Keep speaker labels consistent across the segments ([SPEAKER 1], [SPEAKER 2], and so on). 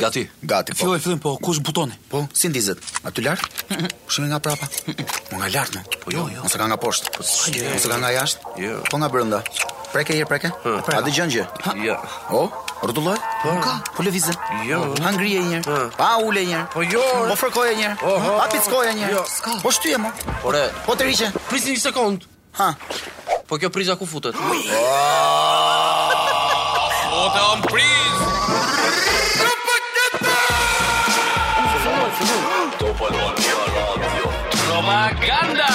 [SPEAKER 1] Gati.
[SPEAKER 2] Gati po.
[SPEAKER 3] Filloj fillim po, kush butoni?
[SPEAKER 2] Po, si ndizet? Aty lart? Pushimi nga prapa. Po nga lart, mo. Po jo, jo. Ose ka nga poshtë. Po Ose ka nga jashtë.
[SPEAKER 1] Jo.
[SPEAKER 2] Po nga brenda. Preke herë, preke. A dëgjon gjë?
[SPEAKER 1] Ja.
[SPEAKER 2] O, rrotullohet? Po. Ka, po lëvizet.
[SPEAKER 1] Jo.
[SPEAKER 2] Ha ngrije një herë.
[SPEAKER 1] Ha.
[SPEAKER 2] Pa ule një herë.
[SPEAKER 1] Po jo, re.
[SPEAKER 2] Po fërkoje një herë.
[SPEAKER 1] Oho.
[SPEAKER 2] Pa pickoje një
[SPEAKER 1] Jo.
[SPEAKER 2] herë. Po shtyje mo.
[SPEAKER 1] Ore,
[SPEAKER 2] Po të riqe.
[SPEAKER 1] prisni një sekond.
[SPEAKER 2] Ha.
[SPEAKER 1] Po kjo priza ku futet?
[SPEAKER 4] O të on priz Propaganda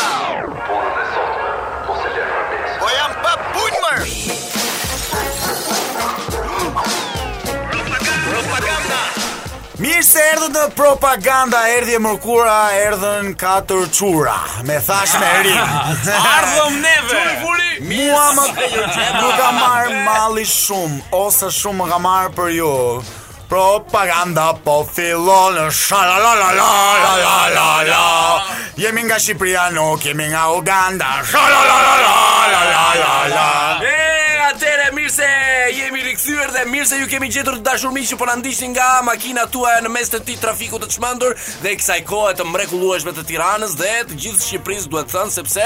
[SPEAKER 2] Po jam pa punëmër.
[SPEAKER 5] Mirë se erdhët në propaganda, erdhi e mërkura, erdhën katër çura. Me thash me rim.
[SPEAKER 4] Ardhëm neve Furi
[SPEAKER 5] Mua më nuk ka marr malli shumë ose shumë më ka marr për ju. Propaganda po fillon shalalalalalalalala Jemi nga Shqipëria nuk jemi nga Uganda shalalalalalalalala
[SPEAKER 4] E, atere, mirë se jemi rikthyer dhe mirë se ju kemi gjetur të dashur miq që po na ndiqni nga makina tuaja në mes të këtij trafiku të çmendur dhe kësaj kohe të mrekullueshme të Tiranës dhe të gjithë Shqipërisë, duhet thënë, sepse ë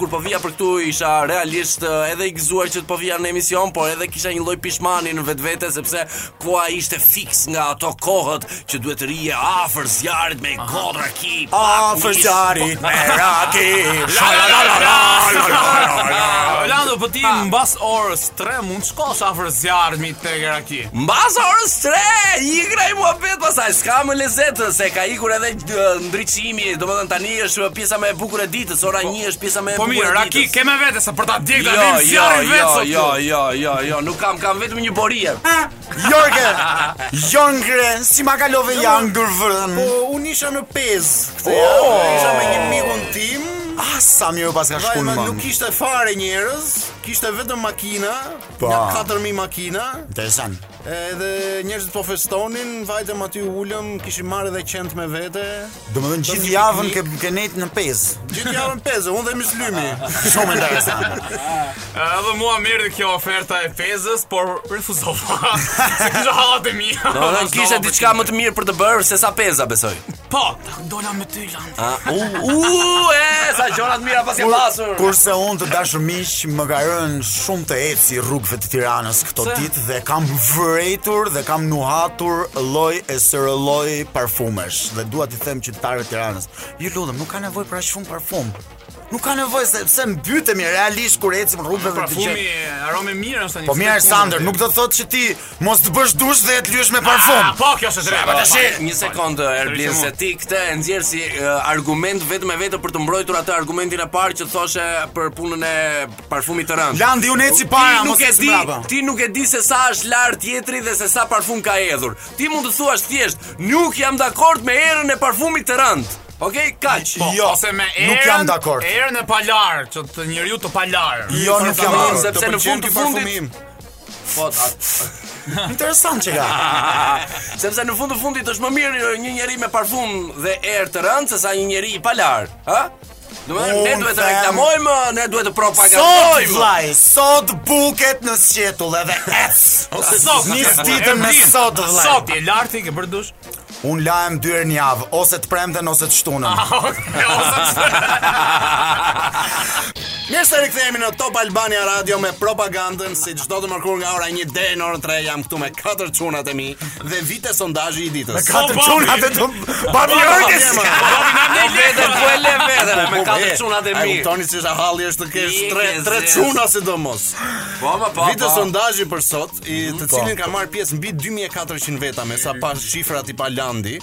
[SPEAKER 4] kur po vija për këtu isha realisht ë, edhe i gëzuar që të po vija në emision, por edhe kisha një lloj pishmani në vetvete sepse koha ishte fiks nga ato kohët që duhet të rije afër zjarit me kodra ki.
[SPEAKER 5] A fërqarit me raki Shalalalalalalalala
[SPEAKER 6] Orlando, po ti mbas orës 3 mund të shkosh afër zjarmit te Geraki.
[SPEAKER 4] Mbasa orës 3, ikra i muhabet pasaj, s'ka më lezet, se ka ikur edhe ë, ndriçimi, domethënë tani është pjesa më e bukur e ditës, ora 1 është pjesa më e
[SPEAKER 6] Po
[SPEAKER 4] bukur e ditës.
[SPEAKER 6] mirë, Raki keme vete se për ta djeg
[SPEAKER 4] jo,
[SPEAKER 6] ta vim
[SPEAKER 4] jo, jo,
[SPEAKER 6] zjarrin vetë. sot Ah,
[SPEAKER 4] jo,
[SPEAKER 6] këtu.
[SPEAKER 4] jo, jo, jo, nuk kam, kam vetëm një borije.
[SPEAKER 5] Jorge, Jorge, si ma kalove janë dërvërën Po, unë isha në pez Këtë
[SPEAKER 2] Isha me një mikun tim.
[SPEAKER 5] Ah, sa mirë pas ka shkunë
[SPEAKER 2] Vajma
[SPEAKER 5] më
[SPEAKER 2] nuk ishte fare njerëz, kishte vetëm makina,
[SPEAKER 5] Po.
[SPEAKER 2] një 4000 makina,
[SPEAKER 5] Interesant
[SPEAKER 2] edhe njerëzit po festonin, vajtëm aty ulëm, kishim marrë edhe qend me vete.
[SPEAKER 5] Do më dhënë gjithë
[SPEAKER 2] një
[SPEAKER 5] javën ke,
[SPEAKER 2] piknik.
[SPEAKER 5] ke nejtë në pez
[SPEAKER 2] Gjithë javën pezë, unë dhe myslymi.
[SPEAKER 5] Shumë interesant
[SPEAKER 6] Edhe mua merri kjo oferta e pezës, por refuzova. Se kisha hallat e mia.
[SPEAKER 4] Do të kishte diçka më të mirë për të bërë se sa peza besoj.
[SPEAKER 6] Po, dola me ty lan.
[SPEAKER 4] A, u, u, e, sa gjëra të mira pas ke pasur.
[SPEAKER 5] Kurse unë të dashur miq më ka rënë shumë të eci rrugëve të Tiranës këto ditë dhe kam vërejtur dhe kam nuhatur lloj e sërë lloj parfumesh dhe dua t'i them qytetarëve të Tiranës, ju lutem nuk ka nevojë për aq shumë parfum. Nuk ka nevojë se pse mbytemi realisht kur ecim rrugëve të
[SPEAKER 6] Parfumi, arome Pra mirë është tani.
[SPEAKER 5] Po mirë Sander, nuk do të thotë që ti mos të bësh dush dhe të lyesh me
[SPEAKER 6] Ah,
[SPEAKER 5] parfum.
[SPEAKER 6] po, kjo është drejt.
[SPEAKER 5] tash-
[SPEAKER 6] Tash
[SPEAKER 5] Shi-
[SPEAKER 4] Një sekondë Erblin
[SPEAKER 6] Tërheqëm
[SPEAKER 4] se ti këtë e nxjerr si ë, argument vetëm e vetëm për të mbrojtur atë argumentin e parë që thoshe për punën e parfumit të rënd.
[SPEAKER 5] Landi unë eci para,
[SPEAKER 4] Ti nuk
[SPEAKER 5] mos
[SPEAKER 4] e
[SPEAKER 5] eci
[SPEAKER 4] di,
[SPEAKER 5] mbrapa.
[SPEAKER 4] ti nuk e di se sa është lart tjetri dhe se sa parfum ka hedhur. Ti mund të thuash thjesht, nuk jam dakord me erën e parfumit të rënd. Okej, kaq.
[SPEAKER 6] Po,
[SPEAKER 5] Jo,
[SPEAKER 6] ose me erën,
[SPEAKER 5] nuk jam dakord.
[SPEAKER 6] Erën e palar, që të njeriu të palar.
[SPEAKER 5] Jo, nuk jam
[SPEAKER 4] Parfumim,
[SPEAKER 5] dakord.
[SPEAKER 4] sepse në fund të fundit, po, ta-
[SPEAKER 5] Interesant që
[SPEAKER 4] Ah,
[SPEAKER 5] ka.
[SPEAKER 4] sepse në fund të fundit është më mirë ë, një njeri me parfum dhe erë të rënd se sa një njeri i palar, ha? Domethënë ne
[SPEAKER 5] Unë
[SPEAKER 4] duhet të
[SPEAKER 5] them-
[SPEAKER 4] reklamojmë, ne duhet të
[SPEAKER 5] Sot
[SPEAKER 4] propagandojmë.
[SPEAKER 5] vllaj, sot buket në sqetull edhe ec.
[SPEAKER 6] Sot,
[SPEAKER 5] Nis ditën me sot vllaj.
[SPEAKER 6] Sot je larti ke bërë dush.
[SPEAKER 5] Un lahem dy herë në javë, ose të premten ose të shtunën.
[SPEAKER 4] Ah, po,
[SPEAKER 2] Mirë se rikthehemi në Top Albania Radio me propagandën si çdo të mërkur nga ora 1 deri në orën 3 jam këtu me katër çunat e mi dhe vite sondazhi i ditës.
[SPEAKER 5] Katër
[SPEAKER 6] po,
[SPEAKER 5] çuna të të babi Jorges.
[SPEAKER 4] Po vetën po e le vetën me
[SPEAKER 2] Po,
[SPEAKER 4] katër
[SPEAKER 2] e,
[SPEAKER 4] çunat e
[SPEAKER 2] A
[SPEAKER 4] mirë.
[SPEAKER 2] kuptoni se halli është të kesh
[SPEAKER 4] Je
[SPEAKER 2] tre
[SPEAKER 4] ke
[SPEAKER 2] tre
[SPEAKER 4] zez.
[SPEAKER 2] çuna sidomos.
[SPEAKER 4] Po ma po.
[SPEAKER 2] Vitë
[SPEAKER 4] po.
[SPEAKER 2] sondazhi për sot, i të cilin ka marrë pjesë mbi 2400 veta me sa pas shifrat i Palandi.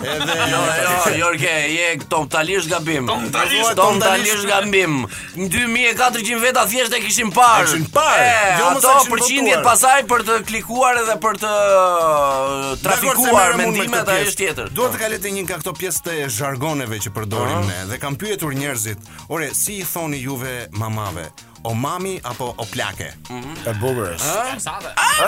[SPEAKER 2] Edhe
[SPEAKER 4] Jo, jo, Jorge, je totalisht gabim.
[SPEAKER 2] Totalisht,
[SPEAKER 4] totalisht gabim. Në 2400 veta thjesht e kishin parë.
[SPEAKER 2] E kishin parë.
[SPEAKER 4] E,
[SPEAKER 2] Jo, mos e
[SPEAKER 4] ato
[SPEAKER 2] kishin
[SPEAKER 4] përqindjet
[SPEAKER 2] votuar.
[SPEAKER 4] pasaj për të klikuar edhe për të trafikuar mendimet ajo është tjetër.
[SPEAKER 2] Duhet të kalete një nga këto pjesë të zhargoneve që përdorim ne dhe kam pyetur njerëzit, "Ore, si i thoni juve mamave?" O mami apo o plake?
[SPEAKER 5] E bukur është.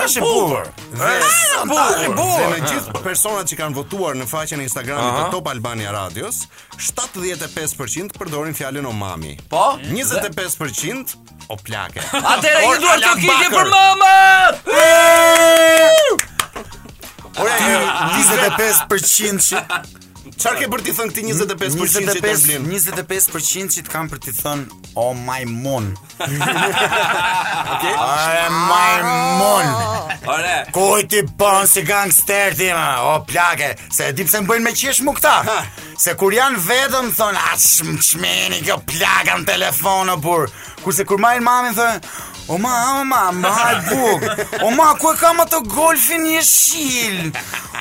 [SPEAKER 2] Është e bukur. Është
[SPEAKER 4] bukur.
[SPEAKER 2] Dhe me gjithë personat që kanë votuar në faqen e Instagramit të Top Albania Radios, 75% përdorin fjalën o mami.
[SPEAKER 4] Po?
[SPEAKER 2] 25% o plake.
[SPEAKER 4] Atëre ju
[SPEAKER 2] Or,
[SPEAKER 4] duhet të
[SPEAKER 2] Alan
[SPEAKER 4] kikje
[SPEAKER 2] Bakër.
[SPEAKER 4] për mamat.
[SPEAKER 2] Ore
[SPEAKER 5] 25% që
[SPEAKER 2] Çfarë ke për të thënë këti 25% që të
[SPEAKER 5] 25
[SPEAKER 2] vlinë?
[SPEAKER 5] 25% që të kam për të thënë o majmun.
[SPEAKER 2] Okej?
[SPEAKER 5] Are majmun.
[SPEAKER 4] Ore,
[SPEAKER 5] Ku ti bën si gangster ti ma, o plake, se e di pse më bëjnë me qesh mu këta. Se kur janë vetëm thonë, a shm- shmeni kjo plaka në telefon o burr. Kurse kur marrin mamin thonë, O ma, o ma, ma e buk O ma, ku e kam atë golfin një shil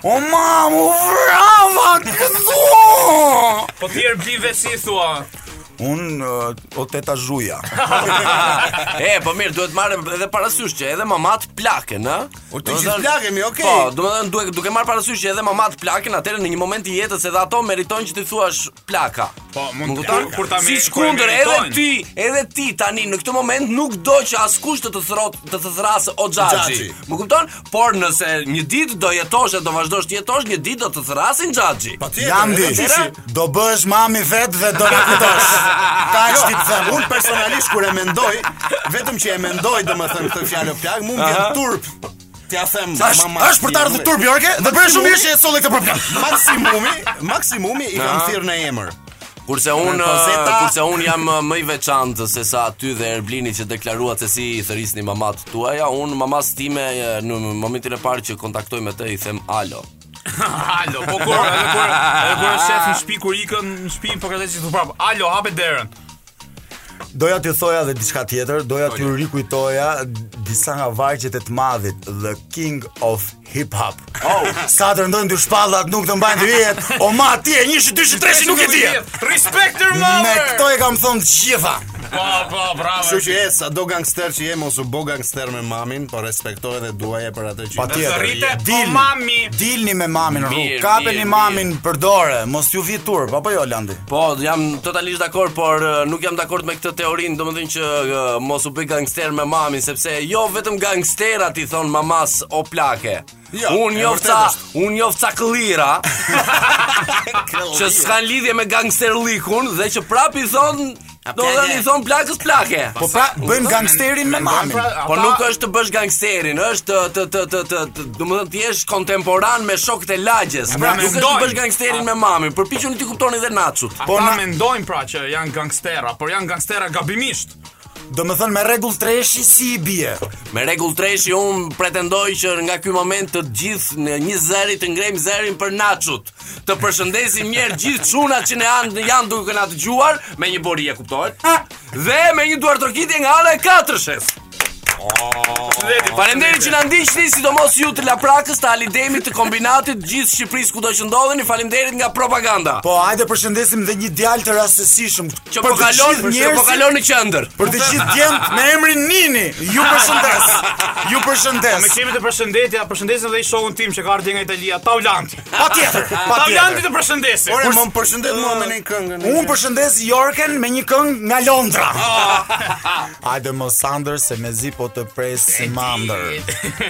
[SPEAKER 5] O ma, mu vrava këtu
[SPEAKER 6] Po ti erblive si i thua.
[SPEAKER 5] Unë uh, o teta zhuja
[SPEAKER 4] e, po mirë, duhet marrë edhe parasysh që edhe mamat plakën, ë?
[SPEAKER 5] Po
[SPEAKER 2] U, ti
[SPEAKER 4] Do të
[SPEAKER 2] gjithë
[SPEAKER 4] thënë-
[SPEAKER 2] plakën, mi, okej.
[SPEAKER 4] Po, domethënë duhet duke marrë parasysh që edhe mamat plakën, atëherë në një moment të jetës edhe ato meritojnë që ti thuash plaka.
[SPEAKER 6] Po,
[SPEAKER 4] Më
[SPEAKER 6] mund të-
[SPEAKER 4] kupton?
[SPEAKER 6] kur ta me-
[SPEAKER 4] Siç
[SPEAKER 6] kur e
[SPEAKER 4] kundër edhe
[SPEAKER 6] meritojnë.
[SPEAKER 4] ti, edhe ti tani në këtë moment nuk do që askush të të throt, të të thrasë o xhaxhi.
[SPEAKER 2] Xhaxhi.
[SPEAKER 4] Më kupton? Por nëse një ditë do jetosh e do vazhdosh të jetosh, një ditë do të thrasin xhaxhi.
[SPEAKER 6] Po,
[SPEAKER 2] Patjetër,
[SPEAKER 5] Jam di
[SPEAKER 2] edhe qyshi.
[SPEAKER 5] Do bësh mami vetë dhe do me kujtosh Ka që ti të them
[SPEAKER 2] Unë personalisht kur e mendoj, vetëm që e mendoj domethënë këtë fjalë plak, mund të jem turp. T'ja them
[SPEAKER 5] Ashtë është për të ardhur turp Jorke Dhe bërë shumë mirë që e solle këtë problem
[SPEAKER 2] Maksimumi, maksimumi i kam thirrë në emër.
[SPEAKER 4] Kurse
[SPEAKER 6] po,
[SPEAKER 4] un eh,
[SPEAKER 2] Kozeta.
[SPEAKER 4] kurse un jam uh, më i veçantë se sa aty dhe Erblini që deklaruat se si i thërisni mamat tuaja, un mamas time uh, në momentin e parë që kontaktoj me të i them alo.
[SPEAKER 6] Alo, po kur, edhe kur, edhe kur është shef në shtëpi kur ikën në shtëpi po ka thënë si thu prap. Alo, hapet derën.
[SPEAKER 5] Doja t'ju thoja dhe diçka tjetër Doja t'ju rikujtoja Disa nga vargjet e të madhit The King of Hip Hop oh. Sa të rëndojnë dy shpallat nuk të mbajnë dy jetë O ma ti e njëshi, dyshi, treshi nuk e di
[SPEAKER 6] Respect her
[SPEAKER 5] Me
[SPEAKER 6] mother.
[SPEAKER 5] këto e kam thonë të gjitha
[SPEAKER 6] Po, po, bravo.
[SPEAKER 2] Kështu që e sa do gangster që jem ose bo gangster me mamin, po respektoj dhe duaje për atë që.
[SPEAKER 5] Patjetër.
[SPEAKER 6] Nëse rrite,
[SPEAKER 5] je-
[SPEAKER 6] o
[SPEAKER 5] dilni-
[SPEAKER 6] po, mami.
[SPEAKER 5] Dilni me mamin në rrugë.
[SPEAKER 4] Mirë,
[SPEAKER 5] Kapeni
[SPEAKER 4] mirë,
[SPEAKER 5] mamin për dorë, mos ju vi turp, apo jo Landi?
[SPEAKER 4] Po, jam totalisht dakord, por uh, nuk jam dakord me këtë teorinë, domethënë që uh, mos u bëj gangster me mamin, sepse jo vetëm gangsterat i thon mamas o plake.
[SPEAKER 2] Jo,
[SPEAKER 4] un
[SPEAKER 2] e
[SPEAKER 4] jofca,
[SPEAKER 2] vërtet
[SPEAKER 4] un jofca këllira, që s'kan lidhje me gangsterlikun dhe që prap i thon, domethënë i thon plakës plake.
[SPEAKER 5] Po pra, bëjmë gangsterin me mamin.
[SPEAKER 4] Po nuk është të bësh gangsterin, është të të të të, të domethënë ti jesh kontemporan me shokët e lagjes.
[SPEAKER 6] pra,
[SPEAKER 4] nuk është të
[SPEAKER 6] mendojnë.
[SPEAKER 4] bësh gangsterin me mamin, përpiquni ti kuptoni dhe naçut.
[SPEAKER 6] Ata
[SPEAKER 5] Po, na-
[SPEAKER 6] mendojnë pra që janë gangstera, por janë gangstera gabimisht.
[SPEAKER 5] Do më thënë me regull treshi si i bie.
[SPEAKER 4] Me rregull treshi un pretendoj që nga ky moment të gjithë në një zëri të ngrejmë zërin për Naçut. Të përshëndesim mirë gjithë çunat që ne janë janë duke na dëgjuar me një bori e kuptohet. Dhe me një duar trokitje nga ana e katërshes.
[SPEAKER 6] Leti,
[SPEAKER 4] Faleminderit që na ndiqni, sidomos ju të Laprakës, të Alidemit, të Kombinatit, të gjithë Shqipërisë kudo që ndodheni. Faleminderit nga propaganda.
[SPEAKER 5] Po hajde përshëndesim dhe një djalë të rastësishëm
[SPEAKER 4] Që po kalon, që po kalon në qendër.
[SPEAKER 5] Për të gjithë djemtë me emrin Nini, ju përshëndes. Ju
[SPEAKER 6] Po, Me
[SPEAKER 5] përshëndes.
[SPEAKER 6] kemi të përshëndetja, përshëndesim dhe i shokun tim që ka ardhur nga Italia, Taulanti.
[SPEAKER 5] Patjetër, patjetër.
[SPEAKER 6] Taulanti të përshëndesim.
[SPEAKER 2] Ore, më më përshëndet mua me një këngën.
[SPEAKER 5] Unë përshëndes Jorken me një këngë nga Londra.
[SPEAKER 4] Ah.
[SPEAKER 5] Hajde mos Sander se mezi po të pres si mandër.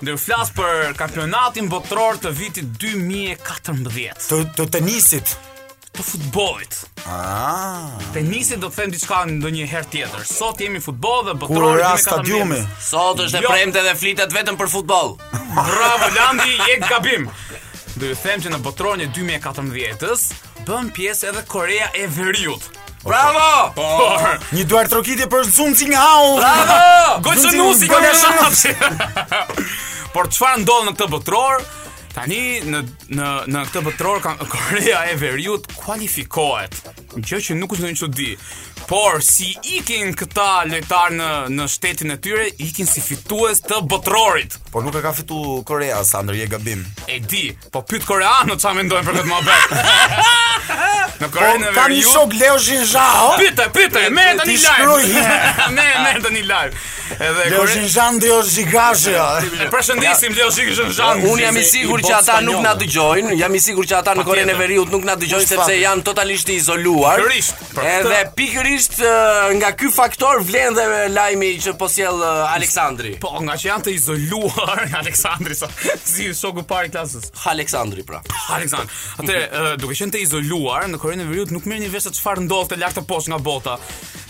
[SPEAKER 6] Ndër flas për kampionatin botror të vitit 2014
[SPEAKER 5] Të të tenisit.
[SPEAKER 6] të futbollit.
[SPEAKER 5] Ah.
[SPEAKER 6] Tenisi do të them diçka ndonjëherë tjetër. Sot jemi futboll dhe
[SPEAKER 5] Kur
[SPEAKER 6] botror
[SPEAKER 5] ra stadiumi.
[SPEAKER 4] Sot është e
[SPEAKER 6] Jo.
[SPEAKER 4] premte dhe flitet vetëm për futboll.
[SPEAKER 6] Bravo Landi, je gabim. Do ju them që në botrorin e 2014-s bën pjesë edhe Korea e Veriut.
[SPEAKER 4] Bravo!
[SPEAKER 6] Por,
[SPEAKER 5] Një duar trokitje për Zoom Sing Hao.
[SPEAKER 4] Bravo!
[SPEAKER 6] Gocënusi ka
[SPEAKER 5] Bëna
[SPEAKER 6] shënapsi. Por çfarë ndodh në këtë botror? Tani në në në këtë botror ka Korea e Veriut kualifikohet. Gjë që nuk është ndonjë çudi. Por si ikin këta lojtar në në shtetin e tyre, ikin si fitues të botrorit.
[SPEAKER 5] Por Po nuk e ka fitu Korea, Sander, je gabim.
[SPEAKER 6] E di, po pyet koreanët çfarë mendojnë për këtë mohabet. në
[SPEAKER 5] Po,
[SPEAKER 6] Korean e
[SPEAKER 5] kam një
[SPEAKER 6] Veriut
[SPEAKER 5] shok Leo Xhinzhao.
[SPEAKER 6] Pyte, pyte, me e tani
[SPEAKER 5] Ti shkruaj.
[SPEAKER 6] live. Me, me e tani live. Edhe
[SPEAKER 5] Leo
[SPEAKER 6] Korea
[SPEAKER 5] Xhinzhan dhe Ozhigashi.
[SPEAKER 6] E përshëndesim Leo Shikishën Zhang.
[SPEAKER 4] Unë jam i sigurt që ata nuk na dëgjojnë, jam i sigurt që ata në Korenë e
[SPEAKER 6] tjetër.
[SPEAKER 4] Veriut nuk na dëgjojnë
[SPEAKER 5] Është
[SPEAKER 4] sepse
[SPEAKER 5] fakt.
[SPEAKER 4] janë totalisht i izoluar.
[SPEAKER 6] Pikërisht, për këtë-
[SPEAKER 4] Edhe pikërisht ë, nga ky faktor vlen dhe lajmi që po sjell ë, Aleksandri.
[SPEAKER 6] Po, nga që janë të izoluar, Aleksandri sa si shoku i parë i klasës.
[SPEAKER 4] Aleksandri pra.
[SPEAKER 6] Aleksandr. Atë
[SPEAKER 4] Mhm.
[SPEAKER 6] duke qenë të izoluar në Korenë e Veriut nuk merrni vesh se çfarë ndodhte lart të poshtë nga bota.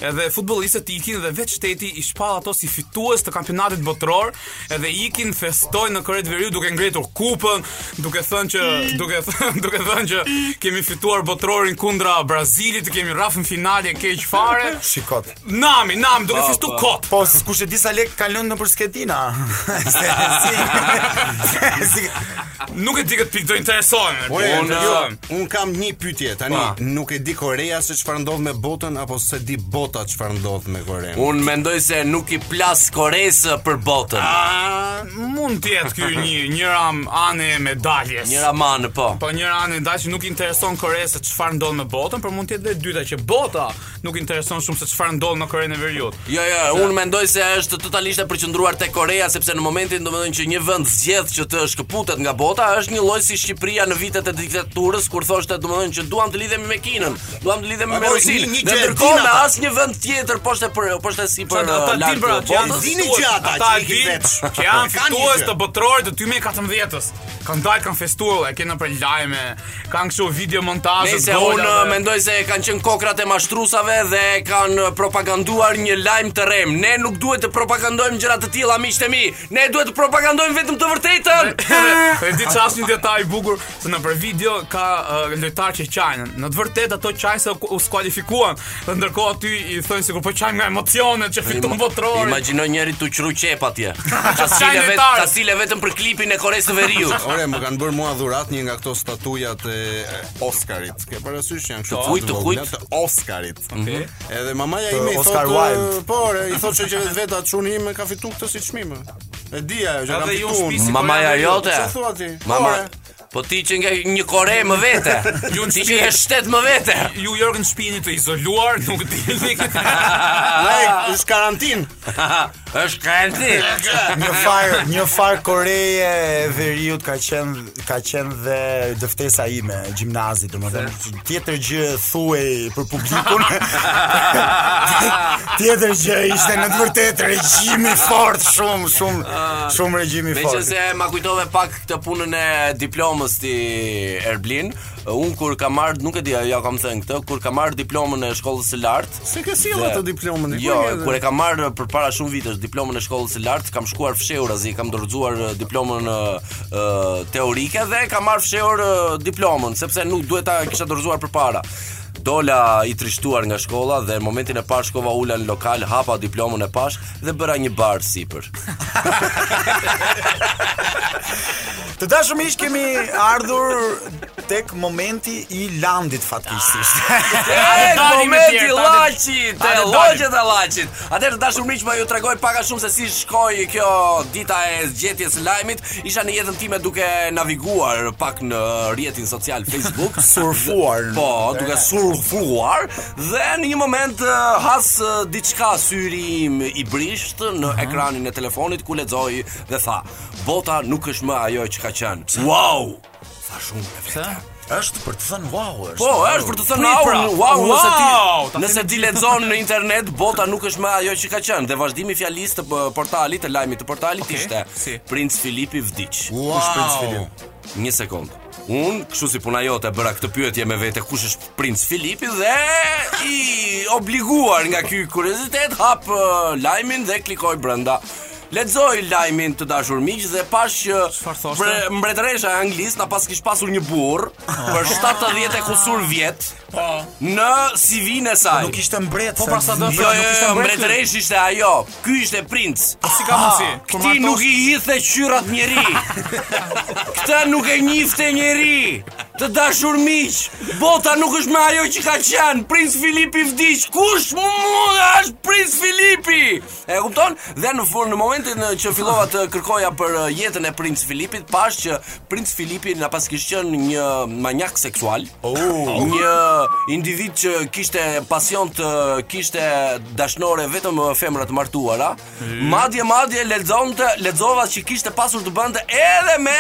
[SPEAKER 6] Edhe futbollistët ikin dhe vetë shteti i shpall ato si si fitues të kampionatit botëror, edhe ikin festojnë në Korë të Veriut duke ngritur kupën, duke thënë që duke thënë duke thënë që kemi fituar botrorin kundra Brazilit, kemi rrafën finale keq fare.
[SPEAKER 5] Shikot.
[SPEAKER 6] Nami, nami, duke festu kot.
[SPEAKER 5] Po, s- kush e di sa lek kanë lënë nëpër sketina. Se si. si
[SPEAKER 6] Nuk e di këtë pikë do interesojnë.
[SPEAKER 2] Ore,
[SPEAKER 6] Unë,
[SPEAKER 2] jo,
[SPEAKER 6] ëm,
[SPEAKER 2] un kam një pyetje tani,
[SPEAKER 6] Pa.
[SPEAKER 2] nuk e di Korea se çfarë ndodh me botën apo se di bota çfarë ndodh me Korean.
[SPEAKER 4] Unë mendoj se nuk i plas Koresë për botën.
[SPEAKER 6] A, mund të jetë ky një njëra anë e medaljes.
[SPEAKER 4] Një raman, po.
[SPEAKER 6] Po njëra anë e medaljes që nuk i intereson Koreas se çfarë ndodh me botën, por mund të jetë dhe e dyta që bota nuk i intereson shumë se çfarë ndodh në Korenë e Veriut.
[SPEAKER 4] Jo, jo, unë mendoj se është totalisht e përqendruar te Korea sepse në momentin domethënë që një vend zgjedh që të shkëputet nga bota është një lloj si Shqipëria në vitet e diktaturës kur thoshte domethënë që duam të lidhemi me Kinën, duam të lidhemi me
[SPEAKER 2] po,
[SPEAKER 4] Rusinë.
[SPEAKER 2] një- një
[SPEAKER 4] Dhe
[SPEAKER 2] gjë e
[SPEAKER 4] ndërkohë
[SPEAKER 2] din
[SPEAKER 4] në
[SPEAKER 2] ata.
[SPEAKER 4] asnjë vend tjetër poshtë për poshtë si për
[SPEAKER 6] Ata
[SPEAKER 4] uh,
[SPEAKER 6] din
[SPEAKER 4] larg
[SPEAKER 6] për
[SPEAKER 4] të
[SPEAKER 6] atë që janë
[SPEAKER 4] botës.
[SPEAKER 2] dini
[SPEAKER 6] fitues,
[SPEAKER 2] po, që ata
[SPEAKER 6] ata
[SPEAKER 2] që i
[SPEAKER 6] din
[SPEAKER 2] veç.
[SPEAKER 6] që janë
[SPEAKER 2] Kanë një
[SPEAKER 6] fitues
[SPEAKER 2] gjë.
[SPEAKER 6] të botrorit të 2014-s. Kanë dalë kanë festuar, e kanë për lajme, kanë kështu video montazhe.
[SPEAKER 4] Nëse unë uh, mendoj se kanë qenë kokrat e mashtrusave dhe kanë propaganduar një lajm të rrem. Ne nuk duhet të propagandojmë gjëra të tilla miqtë mi. Ne duhet të propagandojmë vetëm të vërtetën.
[SPEAKER 6] Dhe di që asë një detaj i bukur Se në për video ka uh, lojtar që qajnë Në të vërtet ato qajnë se u skualifikuan Dhe ndërkohë aty i thënë sikur po qajnë nga emocionet që fiton votrori
[SPEAKER 4] Imagjino njëri të qru qep atje. Ka
[SPEAKER 6] Qajnë
[SPEAKER 4] sile vet,
[SPEAKER 6] lojtarë.
[SPEAKER 4] ka sile vetëm për klipin e Koresë të Veriut.
[SPEAKER 2] Ore, më kanë bërë mua dhurat një nga këto statujat e e Oscarit. Ke parasysh janë kështu
[SPEAKER 4] Të
[SPEAKER 2] të
[SPEAKER 4] kujt, të
[SPEAKER 2] vogla,
[SPEAKER 4] kujt?
[SPEAKER 2] të Oscarit. Edhe mamaja ime i
[SPEAKER 5] Oscar
[SPEAKER 2] thotë,
[SPEAKER 5] Wilde.
[SPEAKER 2] po, ore, i thotë që vetë vetë atë çuni ime ka fituar këtë si çmim. E di ajo që
[SPEAKER 6] Edhe
[SPEAKER 2] kam
[SPEAKER 6] ju
[SPEAKER 2] fituar.
[SPEAKER 6] shpisi
[SPEAKER 4] Mamaja
[SPEAKER 6] Korea e Veriut.
[SPEAKER 4] jote.
[SPEAKER 2] Çfarë thua ti?
[SPEAKER 4] Mama,
[SPEAKER 2] Ore,
[SPEAKER 4] po ti që nga një Kore më vete.
[SPEAKER 6] Ju në
[SPEAKER 4] Ti që je shtet më vete.
[SPEAKER 6] Ju Jorgen shpini të izoluar Nuk dini
[SPEAKER 4] Ah.
[SPEAKER 2] Ai, është karantinë.
[SPEAKER 4] Është kanti.
[SPEAKER 5] një far, një far Koreje e veriut ka qenë ka qenë dhe dëftesa ime e gjimnazit, domethënë tjetër gjë thuaj për publikun. tjetër gjë ishte në të vërtetë regjim i fortë, shumë shumë shumë regjim i
[SPEAKER 4] Me që
[SPEAKER 5] fortë.
[SPEAKER 4] se ma kujtove pak këtë punën e diplomës ti Erblin Unë kur ka marrë, nuk e di, ja kam thënë këtë Kur ka marrë diplomën e shkollës së lartë
[SPEAKER 2] Se ke sjellë atë diplomën diku?
[SPEAKER 4] Jo,
[SPEAKER 2] e ke-
[SPEAKER 4] kur e kam marrë për para shumë vitesh diplomën e shkollës së lartë, kam shkuar fshehur azi, kam dorëzuar eh, diplomën eh, eh, teorike dhe kam marrë fshehur eh, diplomën, sepse nuk duhet ta kisha dorëzuar përpara. Dola i trishtuar nga shkolla dhe në momentin e parë shkova ula në lokal, hapa diplomën e pash dhe bëra një bar sipër.
[SPEAKER 5] Të dashur miq, kemi ardhur tek momenti i landit
[SPEAKER 6] Ah.
[SPEAKER 5] fatkisisht.
[SPEAKER 4] E,
[SPEAKER 6] dalim me
[SPEAKER 4] momenti
[SPEAKER 6] tjerë, ta dhe-
[SPEAKER 4] laçit,
[SPEAKER 6] ta
[SPEAKER 4] e
[SPEAKER 6] dhe
[SPEAKER 4] logjet e laçit. Atëherë dashur miq, më ju tregoj pak a shumë se si shkoi kjo dita e zgjetjes së lajmit. Isha në jetën time duke naviguar pak në rrjetin social Facebook,
[SPEAKER 5] Surfuar.
[SPEAKER 4] Po, duke surfuar dhe në një moment eh, has eh, diçka syri im i brisht në ekranin e telefonit ku lexoi dhe tha: "Bota nuk është më ajo që ka qenë." Wow! Tha shumë e vërtetë.
[SPEAKER 5] është për të thënë wow, është.
[SPEAKER 4] Po, është për të thënë
[SPEAKER 6] Prit
[SPEAKER 4] au,
[SPEAKER 6] pra.
[SPEAKER 4] wow, nëse
[SPEAKER 6] Wow,
[SPEAKER 4] ti
[SPEAKER 6] ta
[SPEAKER 4] nëse ti lexon në internet, bota nuk është më ajo që ka qenë. Dhe vazhdimi i fjalisë të p- portalit, të lajmit të portalit
[SPEAKER 6] Okej,
[SPEAKER 4] ishte
[SPEAKER 6] si?
[SPEAKER 4] Princ Filipi vdiq.
[SPEAKER 5] Kush princ Filip?
[SPEAKER 4] Një sekond. Unë, kështu si puna jote, bëra këtë pyetje me vete kush është princ Filipi dhe i obliguar nga ky kuriozitet hap ë, lajmin dhe klikoj brenda. Lexoj lajmin të dashur miq dhe pash uh, që
[SPEAKER 6] Çfarë thoshte?
[SPEAKER 4] bre- mbretëresha e Anglisë na pas kish pasur një burr për
[SPEAKER 6] Oh.
[SPEAKER 4] 70 e kusur vjet në CV-n e saj.
[SPEAKER 5] Nuk ishte mbret.
[SPEAKER 6] Po, pra, sa do-
[SPEAKER 4] Jo,
[SPEAKER 6] nuk
[SPEAKER 4] jo,
[SPEAKER 6] ishte
[SPEAKER 4] jo,
[SPEAKER 6] mbretëri.
[SPEAKER 4] mbretëresh ishte ajo. Ky ishte princ.
[SPEAKER 6] Si ka mundësi?
[SPEAKER 4] Ah, Këti nuk i hithe qyrat njeri Këta nuk e njifte njeri Të dashur miq Bota nuk është me ajo që ka qenë Princ Filipi vdiq Kush mund është Princ Filipi E kupton? Dhe në fund në momentin eh, që fillova të kërkoja për eh, jetën e Princ Filipit Pash që Princ Filipi na pas kishtë qenë një manjak seksual Një individ që kishte pasion të kishte dashnore vetëm femra të martuara. Madje madje lexonte, lexova që kishte pasur të bënte edhe me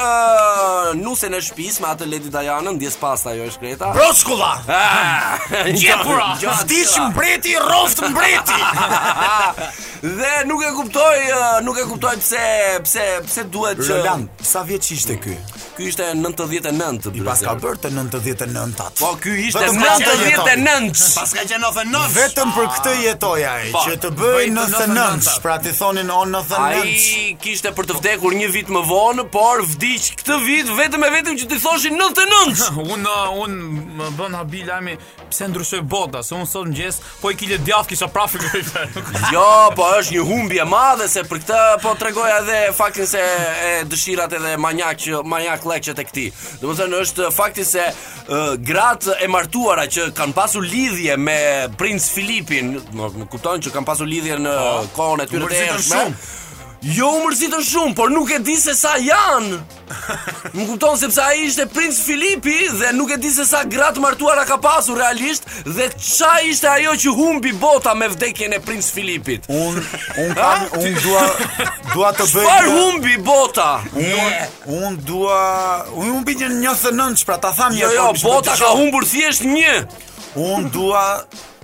[SPEAKER 4] uh, nusen e shtëpisë me atë Lady Diana, ndjes pas ajo e shkreta.
[SPEAKER 5] Broshkulla.
[SPEAKER 4] Ah,
[SPEAKER 6] Gjepura!
[SPEAKER 4] gjepura.
[SPEAKER 5] Vdiq mbreti, rroft mbreti.
[SPEAKER 4] Dhe nuk e kuptoj, ë, nuk e kuptoj pse pse pse duhet që
[SPEAKER 5] Roland, sa vjeç ishte ky?
[SPEAKER 4] Ky ishte 99
[SPEAKER 5] I pas ka bërë të 99-at.
[SPEAKER 4] Po ky ishte
[SPEAKER 5] Vetëm ka qenë jetari.
[SPEAKER 4] 99.
[SPEAKER 2] Pas ka qenë 99.
[SPEAKER 5] Vetëm për këtë jetoj ai,
[SPEAKER 4] Po,
[SPEAKER 5] që të bëj
[SPEAKER 6] bëj të
[SPEAKER 5] 99,
[SPEAKER 6] 99.
[SPEAKER 5] pra ti thonin o 99.
[SPEAKER 4] Ai kishte për të vdekur një vit më vonë, por vdiq këtë vit vetëm e vetëm që ti thoshin 99.
[SPEAKER 6] Unë un më bën habi lajmi pse ndryshoi bota, se unë sot mëngjes po i kile djath kisha prafë këtu.
[SPEAKER 4] Jo, po është një humbje e madhe se për këtë po tregoja edhe faktin se e, dëshirat edhe manjak që manjak lekçet e këtij. Domethënë është fakti se uh, gratë e martuara që kanë pasur lidhje me princ Filipin, më, më kupton që kanë pasur lidhje në kohën e tyre të
[SPEAKER 6] mërzitën
[SPEAKER 4] ershme. Jo u mërzitën shumë, por nuk e di se sa janë. Më kupton sepse ai ishte princ Filipi dhe nuk e di se sa gratë martuara ka pasur realisht dhe ça ishte ajo që humbi bota me vdekjen e princ Filipit.
[SPEAKER 5] Un un kam un dua dua të bëj
[SPEAKER 4] Çfarë
[SPEAKER 5] një-
[SPEAKER 4] humbi bota?
[SPEAKER 5] Un un dua un humbi një 99, pra ta tham një
[SPEAKER 4] Jo,
[SPEAKER 5] herë,
[SPEAKER 4] jo,
[SPEAKER 5] por kishte
[SPEAKER 4] bota
[SPEAKER 5] të
[SPEAKER 4] ka
[SPEAKER 5] shoh.
[SPEAKER 4] humbur thjesht një.
[SPEAKER 5] Un dua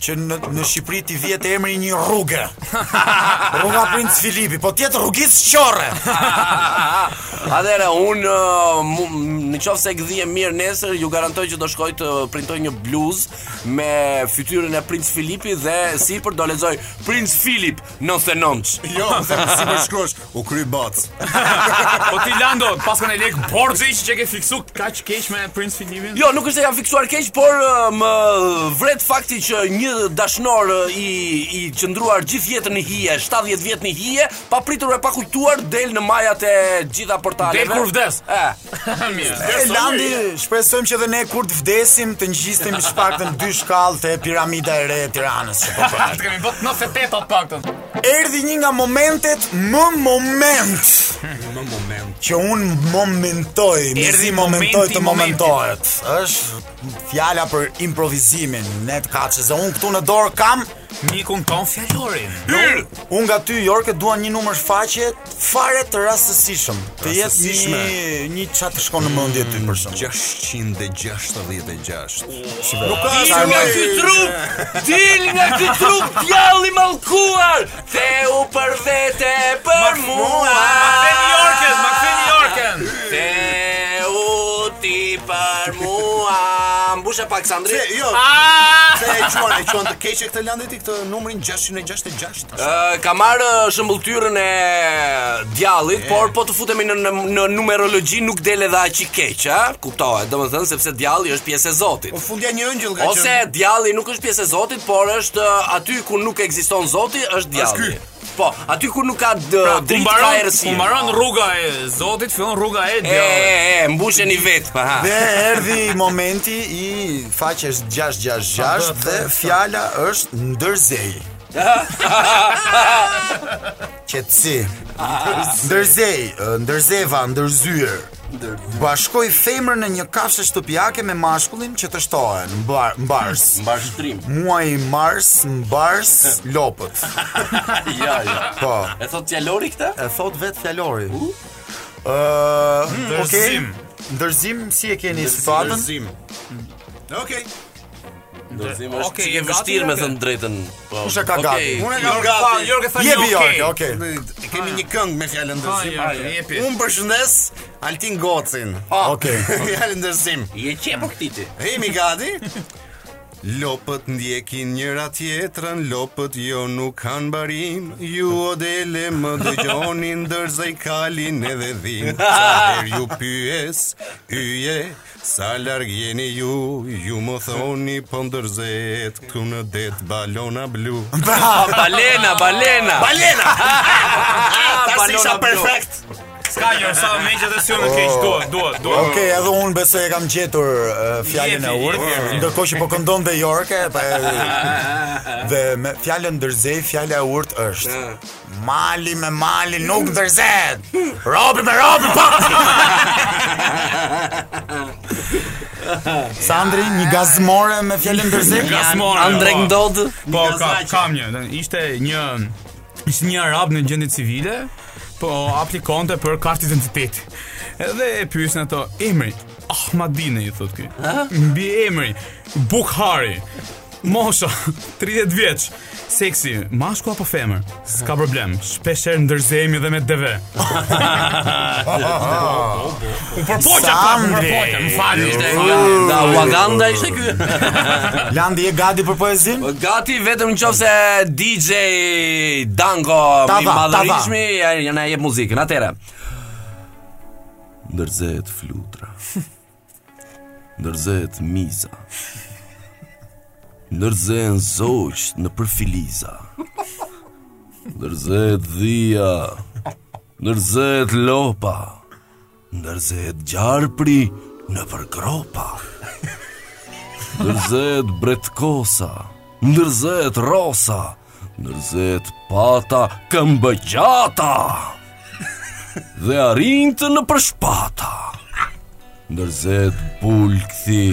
[SPEAKER 5] që në, në Shqipëri ti vjetë emri një rrugë. Rruga Princ Filipi, po tjetë rrugis qorre.
[SPEAKER 4] Atëherë unë uh, mu- m- në qoftë se gdhiem mirë nesër, ju garantoj që do shkoj të printoj një bluz me fytyrën e Princ Filipi dhe sipër do lexoj Princ Filip 99.
[SPEAKER 2] Jo, se si më shkruash, u kry bot.
[SPEAKER 6] Po ti Lando, pas kanë lek borxhi që ke fiksu kaq keq me Prince Filipin.
[SPEAKER 4] Jo, nuk është se jam fiksuar keq, por uh, më vret fakti që një dashnor uh, i i qëndruar gjithë jetën në hije, 70 vjet në hije, pa pritur e pa kujtuar del në majat e gjitha portaleve.
[SPEAKER 6] Del kur vdes.
[SPEAKER 4] E.
[SPEAKER 6] Mirë.
[SPEAKER 5] E Landi, shpresojmë që dhe ne kur të vdesim të ngjistim të paktën dy shkallë të piramida e re e Tiranës. që po bëhet.
[SPEAKER 6] Atë kemi bët 98 atë paktën.
[SPEAKER 5] Erdhi një nga momentet më moment
[SPEAKER 2] Në moment.
[SPEAKER 5] që un momentoj, mezi
[SPEAKER 6] Erdhi
[SPEAKER 5] momentoj
[SPEAKER 6] momenti
[SPEAKER 5] të
[SPEAKER 6] i momentit.
[SPEAKER 5] momentohet. Është fjala për improvisimin, ne të kaçë, se un këtu në dorë kam
[SPEAKER 6] Mikun ton fjalorin.
[SPEAKER 4] Hyr!
[SPEAKER 5] Unë nga ty Jorke dua një numër faqe fare të rastësishëm. Të jetë një
[SPEAKER 2] Rastësishme.
[SPEAKER 5] një çfarë të shkon në mendje ty për shkak.
[SPEAKER 2] 666.
[SPEAKER 5] Nuk ka
[SPEAKER 4] Dil
[SPEAKER 5] sa
[SPEAKER 4] nga
[SPEAKER 5] lloj-
[SPEAKER 4] ky trup, dil nga ky trup djalli mallkuar, theu për vete për mua.
[SPEAKER 6] Ma ktheni Yorken, ma ktheni Yorken.
[SPEAKER 4] Theu ti për mua. Mbushe pak Sandri.
[SPEAKER 2] Se, jo,
[SPEAKER 6] Ah!
[SPEAKER 2] se e quan, e quan të keqe këtë landit i këtë numrin 666.
[SPEAKER 4] Ë, Ka marrë shëmbëltyrën e djallit, por po të futemi në, në, në numerologji nuk del edhe aq i keq, a? Kuptohet, domethënë sepse djalli është pjesë e Zotit.
[SPEAKER 2] Po fundja një ëngjëll ka
[SPEAKER 4] Ose
[SPEAKER 2] qenë.
[SPEAKER 4] djalli nuk është pjesë e Zotit, por është ë, aty ku nuk ekziston Zoti, është djalli. Po, aty ku nuk ka dë,
[SPEAKER 6] Pra, ku
[SPEAKER 4] dritë ka
[SPEAKER 6] mbaron, ku
[SPEAKER 4] errësi.
[SPEAKER 6] mbaron rruga e Zotit, fillon rruga e
[SPEAKER 4] E, e,
[SPEAKER 6] djallit.
[SPEAKER 4] e, mbusheni vetë, pa ha.
[SPEAKER 5] Dhe erdhi momenti i faqes 666 dhe fjala është ndërzej. Qetësi. Ndërzej, ë, ndërzeva, ndërzyer. Bashkoj femrën në një kafshë shtëpiake me mashkullin që të shtohen mbar mbars.
[SPEAKER 4] Mbash shtrim.
[SPEAKER 5] Muaj mars, mbars, lopët.
[SPEAKER 4] Ja, ja.
[SPEAKER 5] Po.
[SPEAKER 4] E thot djalori këtë?
[SPEAKER 5] E thot vetë fjalori. Ë, uh, okay.
[SPEAKER 6] ndërzim.
[SPEAKER 5] Ndërzim si e keni situatën?
[SPEAKER 2] Ndërzim. Mm. Okej.
[SPEAKER 4] Ndërzimi
[SPEAKER 6] Okej,
[SPEAKER 4] është okay,
[SPEAKER 6] e
[SPEAKER 4] e vështirë
[SPEAKER 6] gati,
[SPEAKER 4] me
[SPEAKER 6] okej.
[SPEAKER 4] thënë drejtën. Po.
[SPEAKER 5] Kusha ka gati?
[SPEAKER 4] Okej.
[SPEAKER 2] Unë e kam
[SPEAKER 6] Jorge tha,
[SPEAKER 2] gati.
[SPEAKER 6] Jorge tha një
[SPEAKER 5] Jepi
[SPEAKER 6] okay.
[SPEAKER 5] Jorge, okay.
[SPEAKER 2] Ne Kemi një këngë me fjalën ndërzim.
[SPEAKER 6] Ah, ja, jepi.
[SPEAKER 2] Unë përshëndes Altin Gocin.
[SPEAKER 4] Ah.
[SPEAKER 5] Okej.
[SPEAKER 2] Fjalën ndërzim.
[SPEAKER 4] Je qepur këtij ti.
[SPEAKER 2] Hemi gati? Lopët ndjekin njëra tjetrën, lopët jo nuk kanë barim, ju odele më dëgjonin, ndërsa i kalin edhe dhim. Sa her ju pyes, yje, sa larg jeni ju, ju më thoni, po ndërzehet këtu në det balona blu.
[SPEAKER 4] Balena, balena. Ah,
[SPEAKER 2] Balena!
[SPEAKER 4] Balona blu.
[SPEAKER 6] Ska një sa me që të si unë keq duhet, duhet, duhet.
[SPEAKER 5] Okej, edhe unë besoj e kam gjetur uh, fjalën e
[SPEAKER 6] Jepi,
[SPEAKER 5] urtë,
[SPEAKER 6] jepi, jepi.
[SPEAKER 5] ndërkohë që po këndon dhe Jorke, pa dhe me fjalën ndërzej, fjala e urtë është Mali me mali nuk ndërzehet. Robi me robi po. Sandri, një gazmore me fjalën ndërzej?
[SPEAKER 6] Gasmore.
[SPEAKER 4] Andrek
[SPEAKER 6] po.
[SPEAKER 4] ndod.
[SPEAKER 6] Po,
[SPEAKER 2] Nga
[SPEAKER 6] ka,
[SPEAKER 2] Zaqe.
[SPEAKER 6] kam një. dhe Ishte një ishte një arab në gjendje civile, po aplikonte për kartë identiteti. Edhe e pyesin ato emri Ahmadine i thot ky. Mbi emri Bukhari. Mosha, 30 vjeç, seksi, mashku apo femër? S'ka problem. Shpesh herë ndërzehemi edhe me DV. U përpoqa pak, pra, u përpoqa, më falni.
[SPEAKER 4] Ishte nga nga Wakanda ishte ky.
[SPEAKER 5] Landi e gati për poezin?
[SPEAKER 4] Gati vetëm në qofë se DJ Dango
[SPEAKER 5] Ta
[SPEAKER 4] i
[SPEAKER 5] va, ta va.
[SPEAKER 4] madhërishmi ja- ja na jep muzikën. Atëre. Ndërzehet flutra. Ndërzehet miza. Ndërzehen zogj në përfiliza. Ndërzehet dhia. Ndërzehet lopa. Ndërzehet gjarpri në përgropa. Ndërzehet bretkosa, ndërzehet rosa, ndërzehet pata këmbëgjata. Dhe arinte në përshpata. Ndërzehet bulkthi,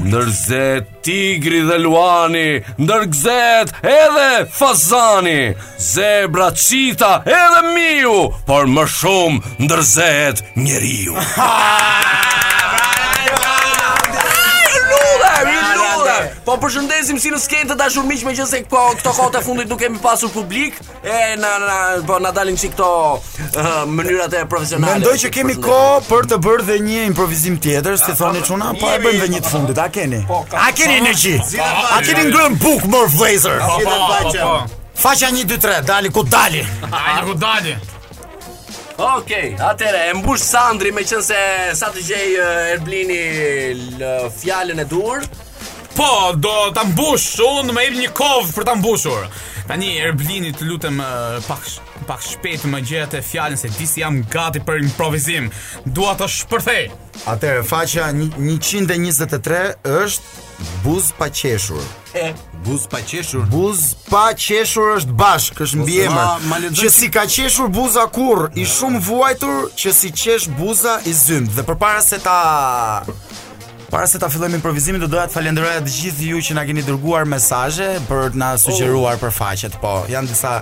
[SPEAKER 4] ndërzehet tigri dhe luani, ndërgzehet edhe fazani, zebra çita edhe miu, por më shumë ndërzehet njeriu. Lutem, ju lutem. Po përshëndesim si në skenë të dashur miq, megjithëse ko, këto kohë të fundit nuk kemi pasur publik, e na, na po na dalin si këto uh, mënyrat e profesionale.
[SPEAKER 5] Mendoj që kemi kohë për të bërë dhe një improvizim tjetër, si thoni çuna, po e bëjmë dhe një të fundit. A keni? A keni energji? A keni ngrën buk mor vlezër?
[SPEAKER 6] Po, po, po, po.
[SPEAKER 5] Faqa 1 2 3, dali ku dali.
[SPEAKER 6] Ai ku dali.
[SPEAKER 4] Okej, atëre e mbush Sandri me qenë se sa të gjej uh, Erblini lë- fjalën e dur.
[SPEAKER 6] Po, do ta mbush, unë më jep një kovë për ta mbushur. Tani Erblinit lutem eh, pak sh- pak shpejt më gjetë fjalën se disi jam gati për improvizim. Dua ta shpërthej.
[SPEAKER 5] Atëherë faqa një- 123 është buz pa qeshur.
[SPEAKER 2] Buz pa qeshur. Po,
[SPEAKER 5] Buz pa qeshur është bashk, është
[SPEAKER 2] ma- ma
[SPEAKER 5] mbiemër.
[SPEAKER 2] lexoj
[SPEAKER 5] Që si ka qeshur buza kurr, i shumë vuajtur që si qesh buza i zymt. Dhe përpara se ta Para se ta fillojmë improvizimin, do doja të falenderoja të gjithë ju që na keni dërguar mesazhe për të
[SPEAKER 2] Oh.
[SPEAKER 5] na sugjeruar për faqet. Po, janë disa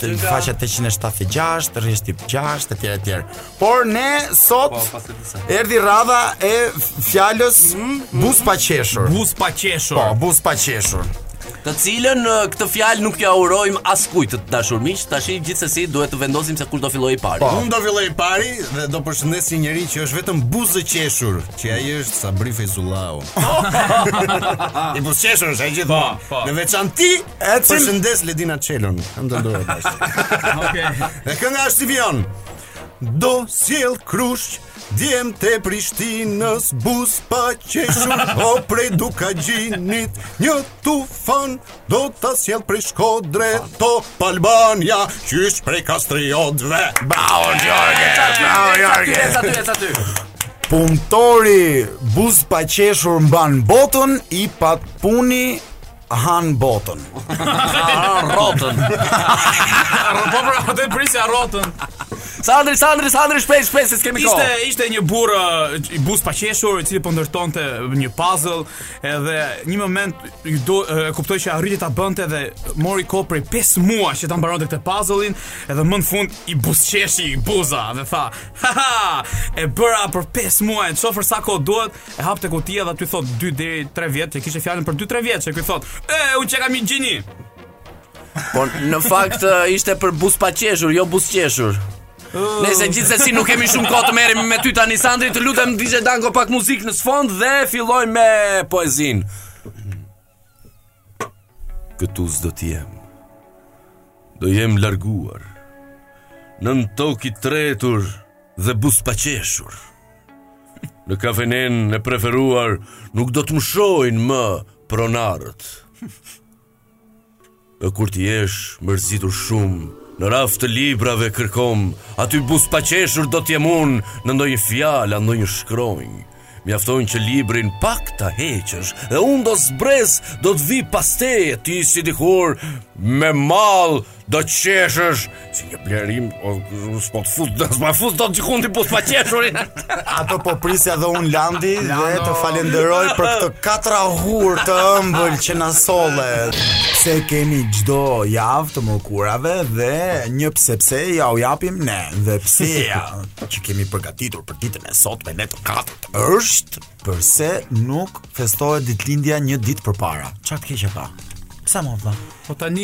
[SPEAKER 5] të faqet 876, rreshti 6 etj etj. Por ne sot
[SPEAKER 2] Po,
[SPEAKER 5] erdhi radha e fjalës
[SPEAKER 2] Mm,
[SPEAKER 5] buz pa qeshur.
[SPEAKER 6] Buz pa qeshur.
[SPEAKER 5] Po, buz pa qeshur.
[SPEAKER 4] Të cilën ë, këtë fjalë nuk ja urojmë askujt të dashur miq. Tashi gjithsesi duhet të vendosim se kush do fillojë i pari.
[SPEAKER 2] Unë do filloj pari dhe do përshëndes një njerëz që është vetëm buzë qeshur, që ai është Sabri Fezullau. I buzë qeshur është ai gjithmonë.
[SPEAKER 6] Po, po.
[SPEAKER 2] Në veçantë ti
[SPEAKER 5] Ecim-
[SPEAKER 2] përshëndes Ledina Çelon. Kam të ndërroj bashkë.
[SPEAKER 6] Okej.
[SPEAKER 2] Dhe kënga është si vion Do sjell krush Djem të Prishtinës Buz pa qeshur O prej duka gjinit Një tufan Do të sjell prej shkodre To Palbania Qysh prej kastriodve Bravo Gjorge Bravo Gjorge
[SPEAKER 4] Sa ty, sa ty.
[SPEAKER 5] Punëtori buz pa qeshur mban botën, i pat puni han botën.
[SPEAKER 4] Rrotën.
[SPEAKER 6] Po pra, atë e prisja rrotën.
[SPEAKER 4] Sandri, Sandri, Sandri, shpesh, shpesh, se s'kemi kohë.
[SPEAKER 6] Ishte ishte një burrë uh, i buz pa qeshur i cili po ndërtonte një puzzle edhe një moment i do e kuptoj që arriti ta bënte dhe mori kohë prej 5 muaj që ta mbaronte këtë puzzle-in edhe më në fund i buzqeshi i buza dhe tha ha ha e bëra për 5 muaj në qofër sa kohë duhet e hapte kutia dhe aty thot 2 deri 3 vjet që kishte fjalën për 2-3 vjet që ky thot e unë që kam i gjini
[SPEAKER 4] Po në fakt ë, ishte për buz pa qeshur, jo buz qeshur. Nëse gjithsesi nuk kemi shumë kohë të merremi me ty tani Sandri, të lutem DJ Danko pak muzikë në sfond dhe fillojmë me poezinë.
[SPEAKER 2] Këtu s'do t'jem Do jem larguar Nën toki tretur Dhe bus pa qeshur Në kafenen e preferuar Nuk do të më shojnë më pronarët E kur t'i jesh mërzitur shumë Në raft të librave kërkom Aty bus pa qeshur do t'jem unë Në ndonjë fjala, në ndonjë shkronjë Mjafton që librin pak ta heqësh Dhe unë do zbres Do t'vi pas teje Ti si dikur me mall
[SPEAKER 4] do të qeshësh si një blerim o s'po të fut do s'ma fut do të gjikun ti po s'ma qeshurin
[SPEAKER 5] Ato po prisja dhe unë Landi Dhe të falenderoj për këtë katra hur të ëmbël që na solle Se kemi gjdo javë të mërkurave Dhe një pse pse ja u japim ne Dhe pseja që kemi përgatitur për ditën e sot me ne të katërt është Përse nuk festohet ditëlindja një ditë përpara Çfarë të keqe pa? Pse më vëlla?
[SPEAKER 3] Po tani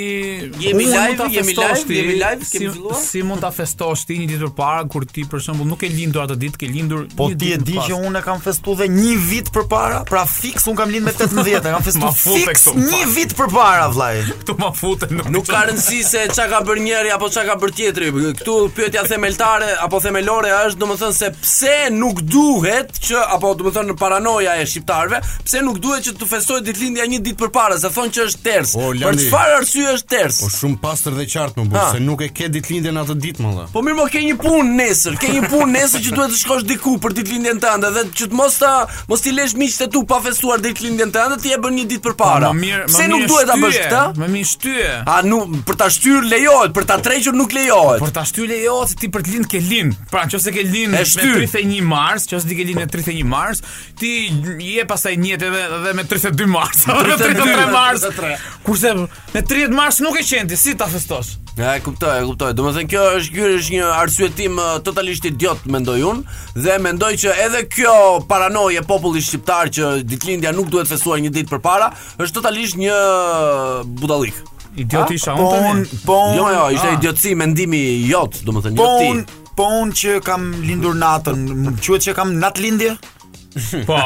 [SPEAKER 1] Jemi
[SPEAKER 3] unë
[SPEAKER 1] live,
[SPEAKER 3] mund ta
[SPEAKER 1] jemi
[SPEAKER 3] festosh
[SPEAKER 1] live,
[SPEAKER 3] ti,
[SPEAKER 1] jemi live,
[SPEAKER 3] si,
[SPEAKER 1] kemi filluar?
[SPEAKER 3] si mund ta festosh ti një ditë përpara kur ti për shembull nuk e lindur atë ditë, ke lindur
[SPEAKER 5] Po
[SPEAKER 3] një
[SPEAKER 5] ti e
[SPEAKER 3] ditë
[SPEAKER 5] di
[SPEAKER 3] më
[SPEAKER 5] që
[SPEAKER 3] pas.
[SPEAKER 5] unë e kam festu dhe një vit për para Pra fix unë kam lind me 18 E kam festu
[SPEAKER 6] Ma fute
[SPEAKER 5] fix
[SPEAKER 6] këtu,
[SPEAKER 5] një vit për para vlaj
[SPEAKER 6] Këtu ma futen nuk,
[SPEAKER 4] Nuk ka rëndësi se çka ka bërë njëri apo çka ka bërë tjetri. Këtu pyetja themeltare apo themelore është domethënë se pse nuk duhet që apo domethënë paranoja e shqiptarëve, pse nuk duhet që të festohet ditëlindja një ditë përpara, se thonë që është ters.
[SPEAKER 2] O, Landi.
[SPEAKER 4] Për çfarë arsye është ters?
[SPEAKER 2] Po shumë pastër dhe qartë më burë,
[SPEAKER 4] Ha.
[SPEAKER 2] se nuk e ke ditëlindjen atë ditë më dha.
[SPEAKER 4] Po mirë, mo ke një punë nesër, ke një punë nesër që duhet të shkosh diku për ditëlindjen tënde dhe që të mos ta mos ti lesh miqtë e tu pa festuar ditëlindjen tënde, ti e bën një ditë përpara.
[SPEAKER 6] Më mirë, më
[SPEAKER 4] Pse
[SPEAKER 6] mirë
[SPEAKER 4] nuk duhet ta bësh
[SPEAKER 6] shtyje,
[SPEAKER 4] këtë?
[SPEAKER 6] Më mirë shtyje.
[SPEAKER 4] A nuk për ta shtyr lejohet, për ta trequr nuk lejohet.
[SPEAKER 6] Por ta shty lejohet se ti për të lind ke lind. Pra nëse ke lind
[SPEAKER 4] E
[SPEAKER 6] me
[SPEAKER 4] shty.
[SPEAKER 6] 31 mars, nëse ti ke lind me 31 mars, ti je pastaj njët edhe edhe me 32 mars, edhe me 33 mars.
[SPEAKER 4] 33.
[SPEAKER 6] Kurse me 30 mars nuk e qen ti, si ta festosh?
[SPEAKER 4] Ja, e kuptoj, e kuptoj. Domethënë kjo është ky është një arsyetim eh, totalisht idiot mendoj unë dhe mendoj që edhe kjo paranoje e popullit shqiptar që ditëlindja nuk duhet festuar një ditë përpara është totalisht një budallik.
[SPEAKER 6] Idioti isha
[SPEAKER 5] Po
[SPEAKER 6] unë tani.
[SPEAKER 5] unë Po unë
[SPEAKER 4] Jo, jo, ishte idiotësi mendimi jot, domethënë
[SPEAKER 5] Po
[SPEAKER 4] joti.
[SPEAKER 5] unë Po unë që kam lindur natën Më quhet që kam natë lindje
[SPEAKER 6] Po,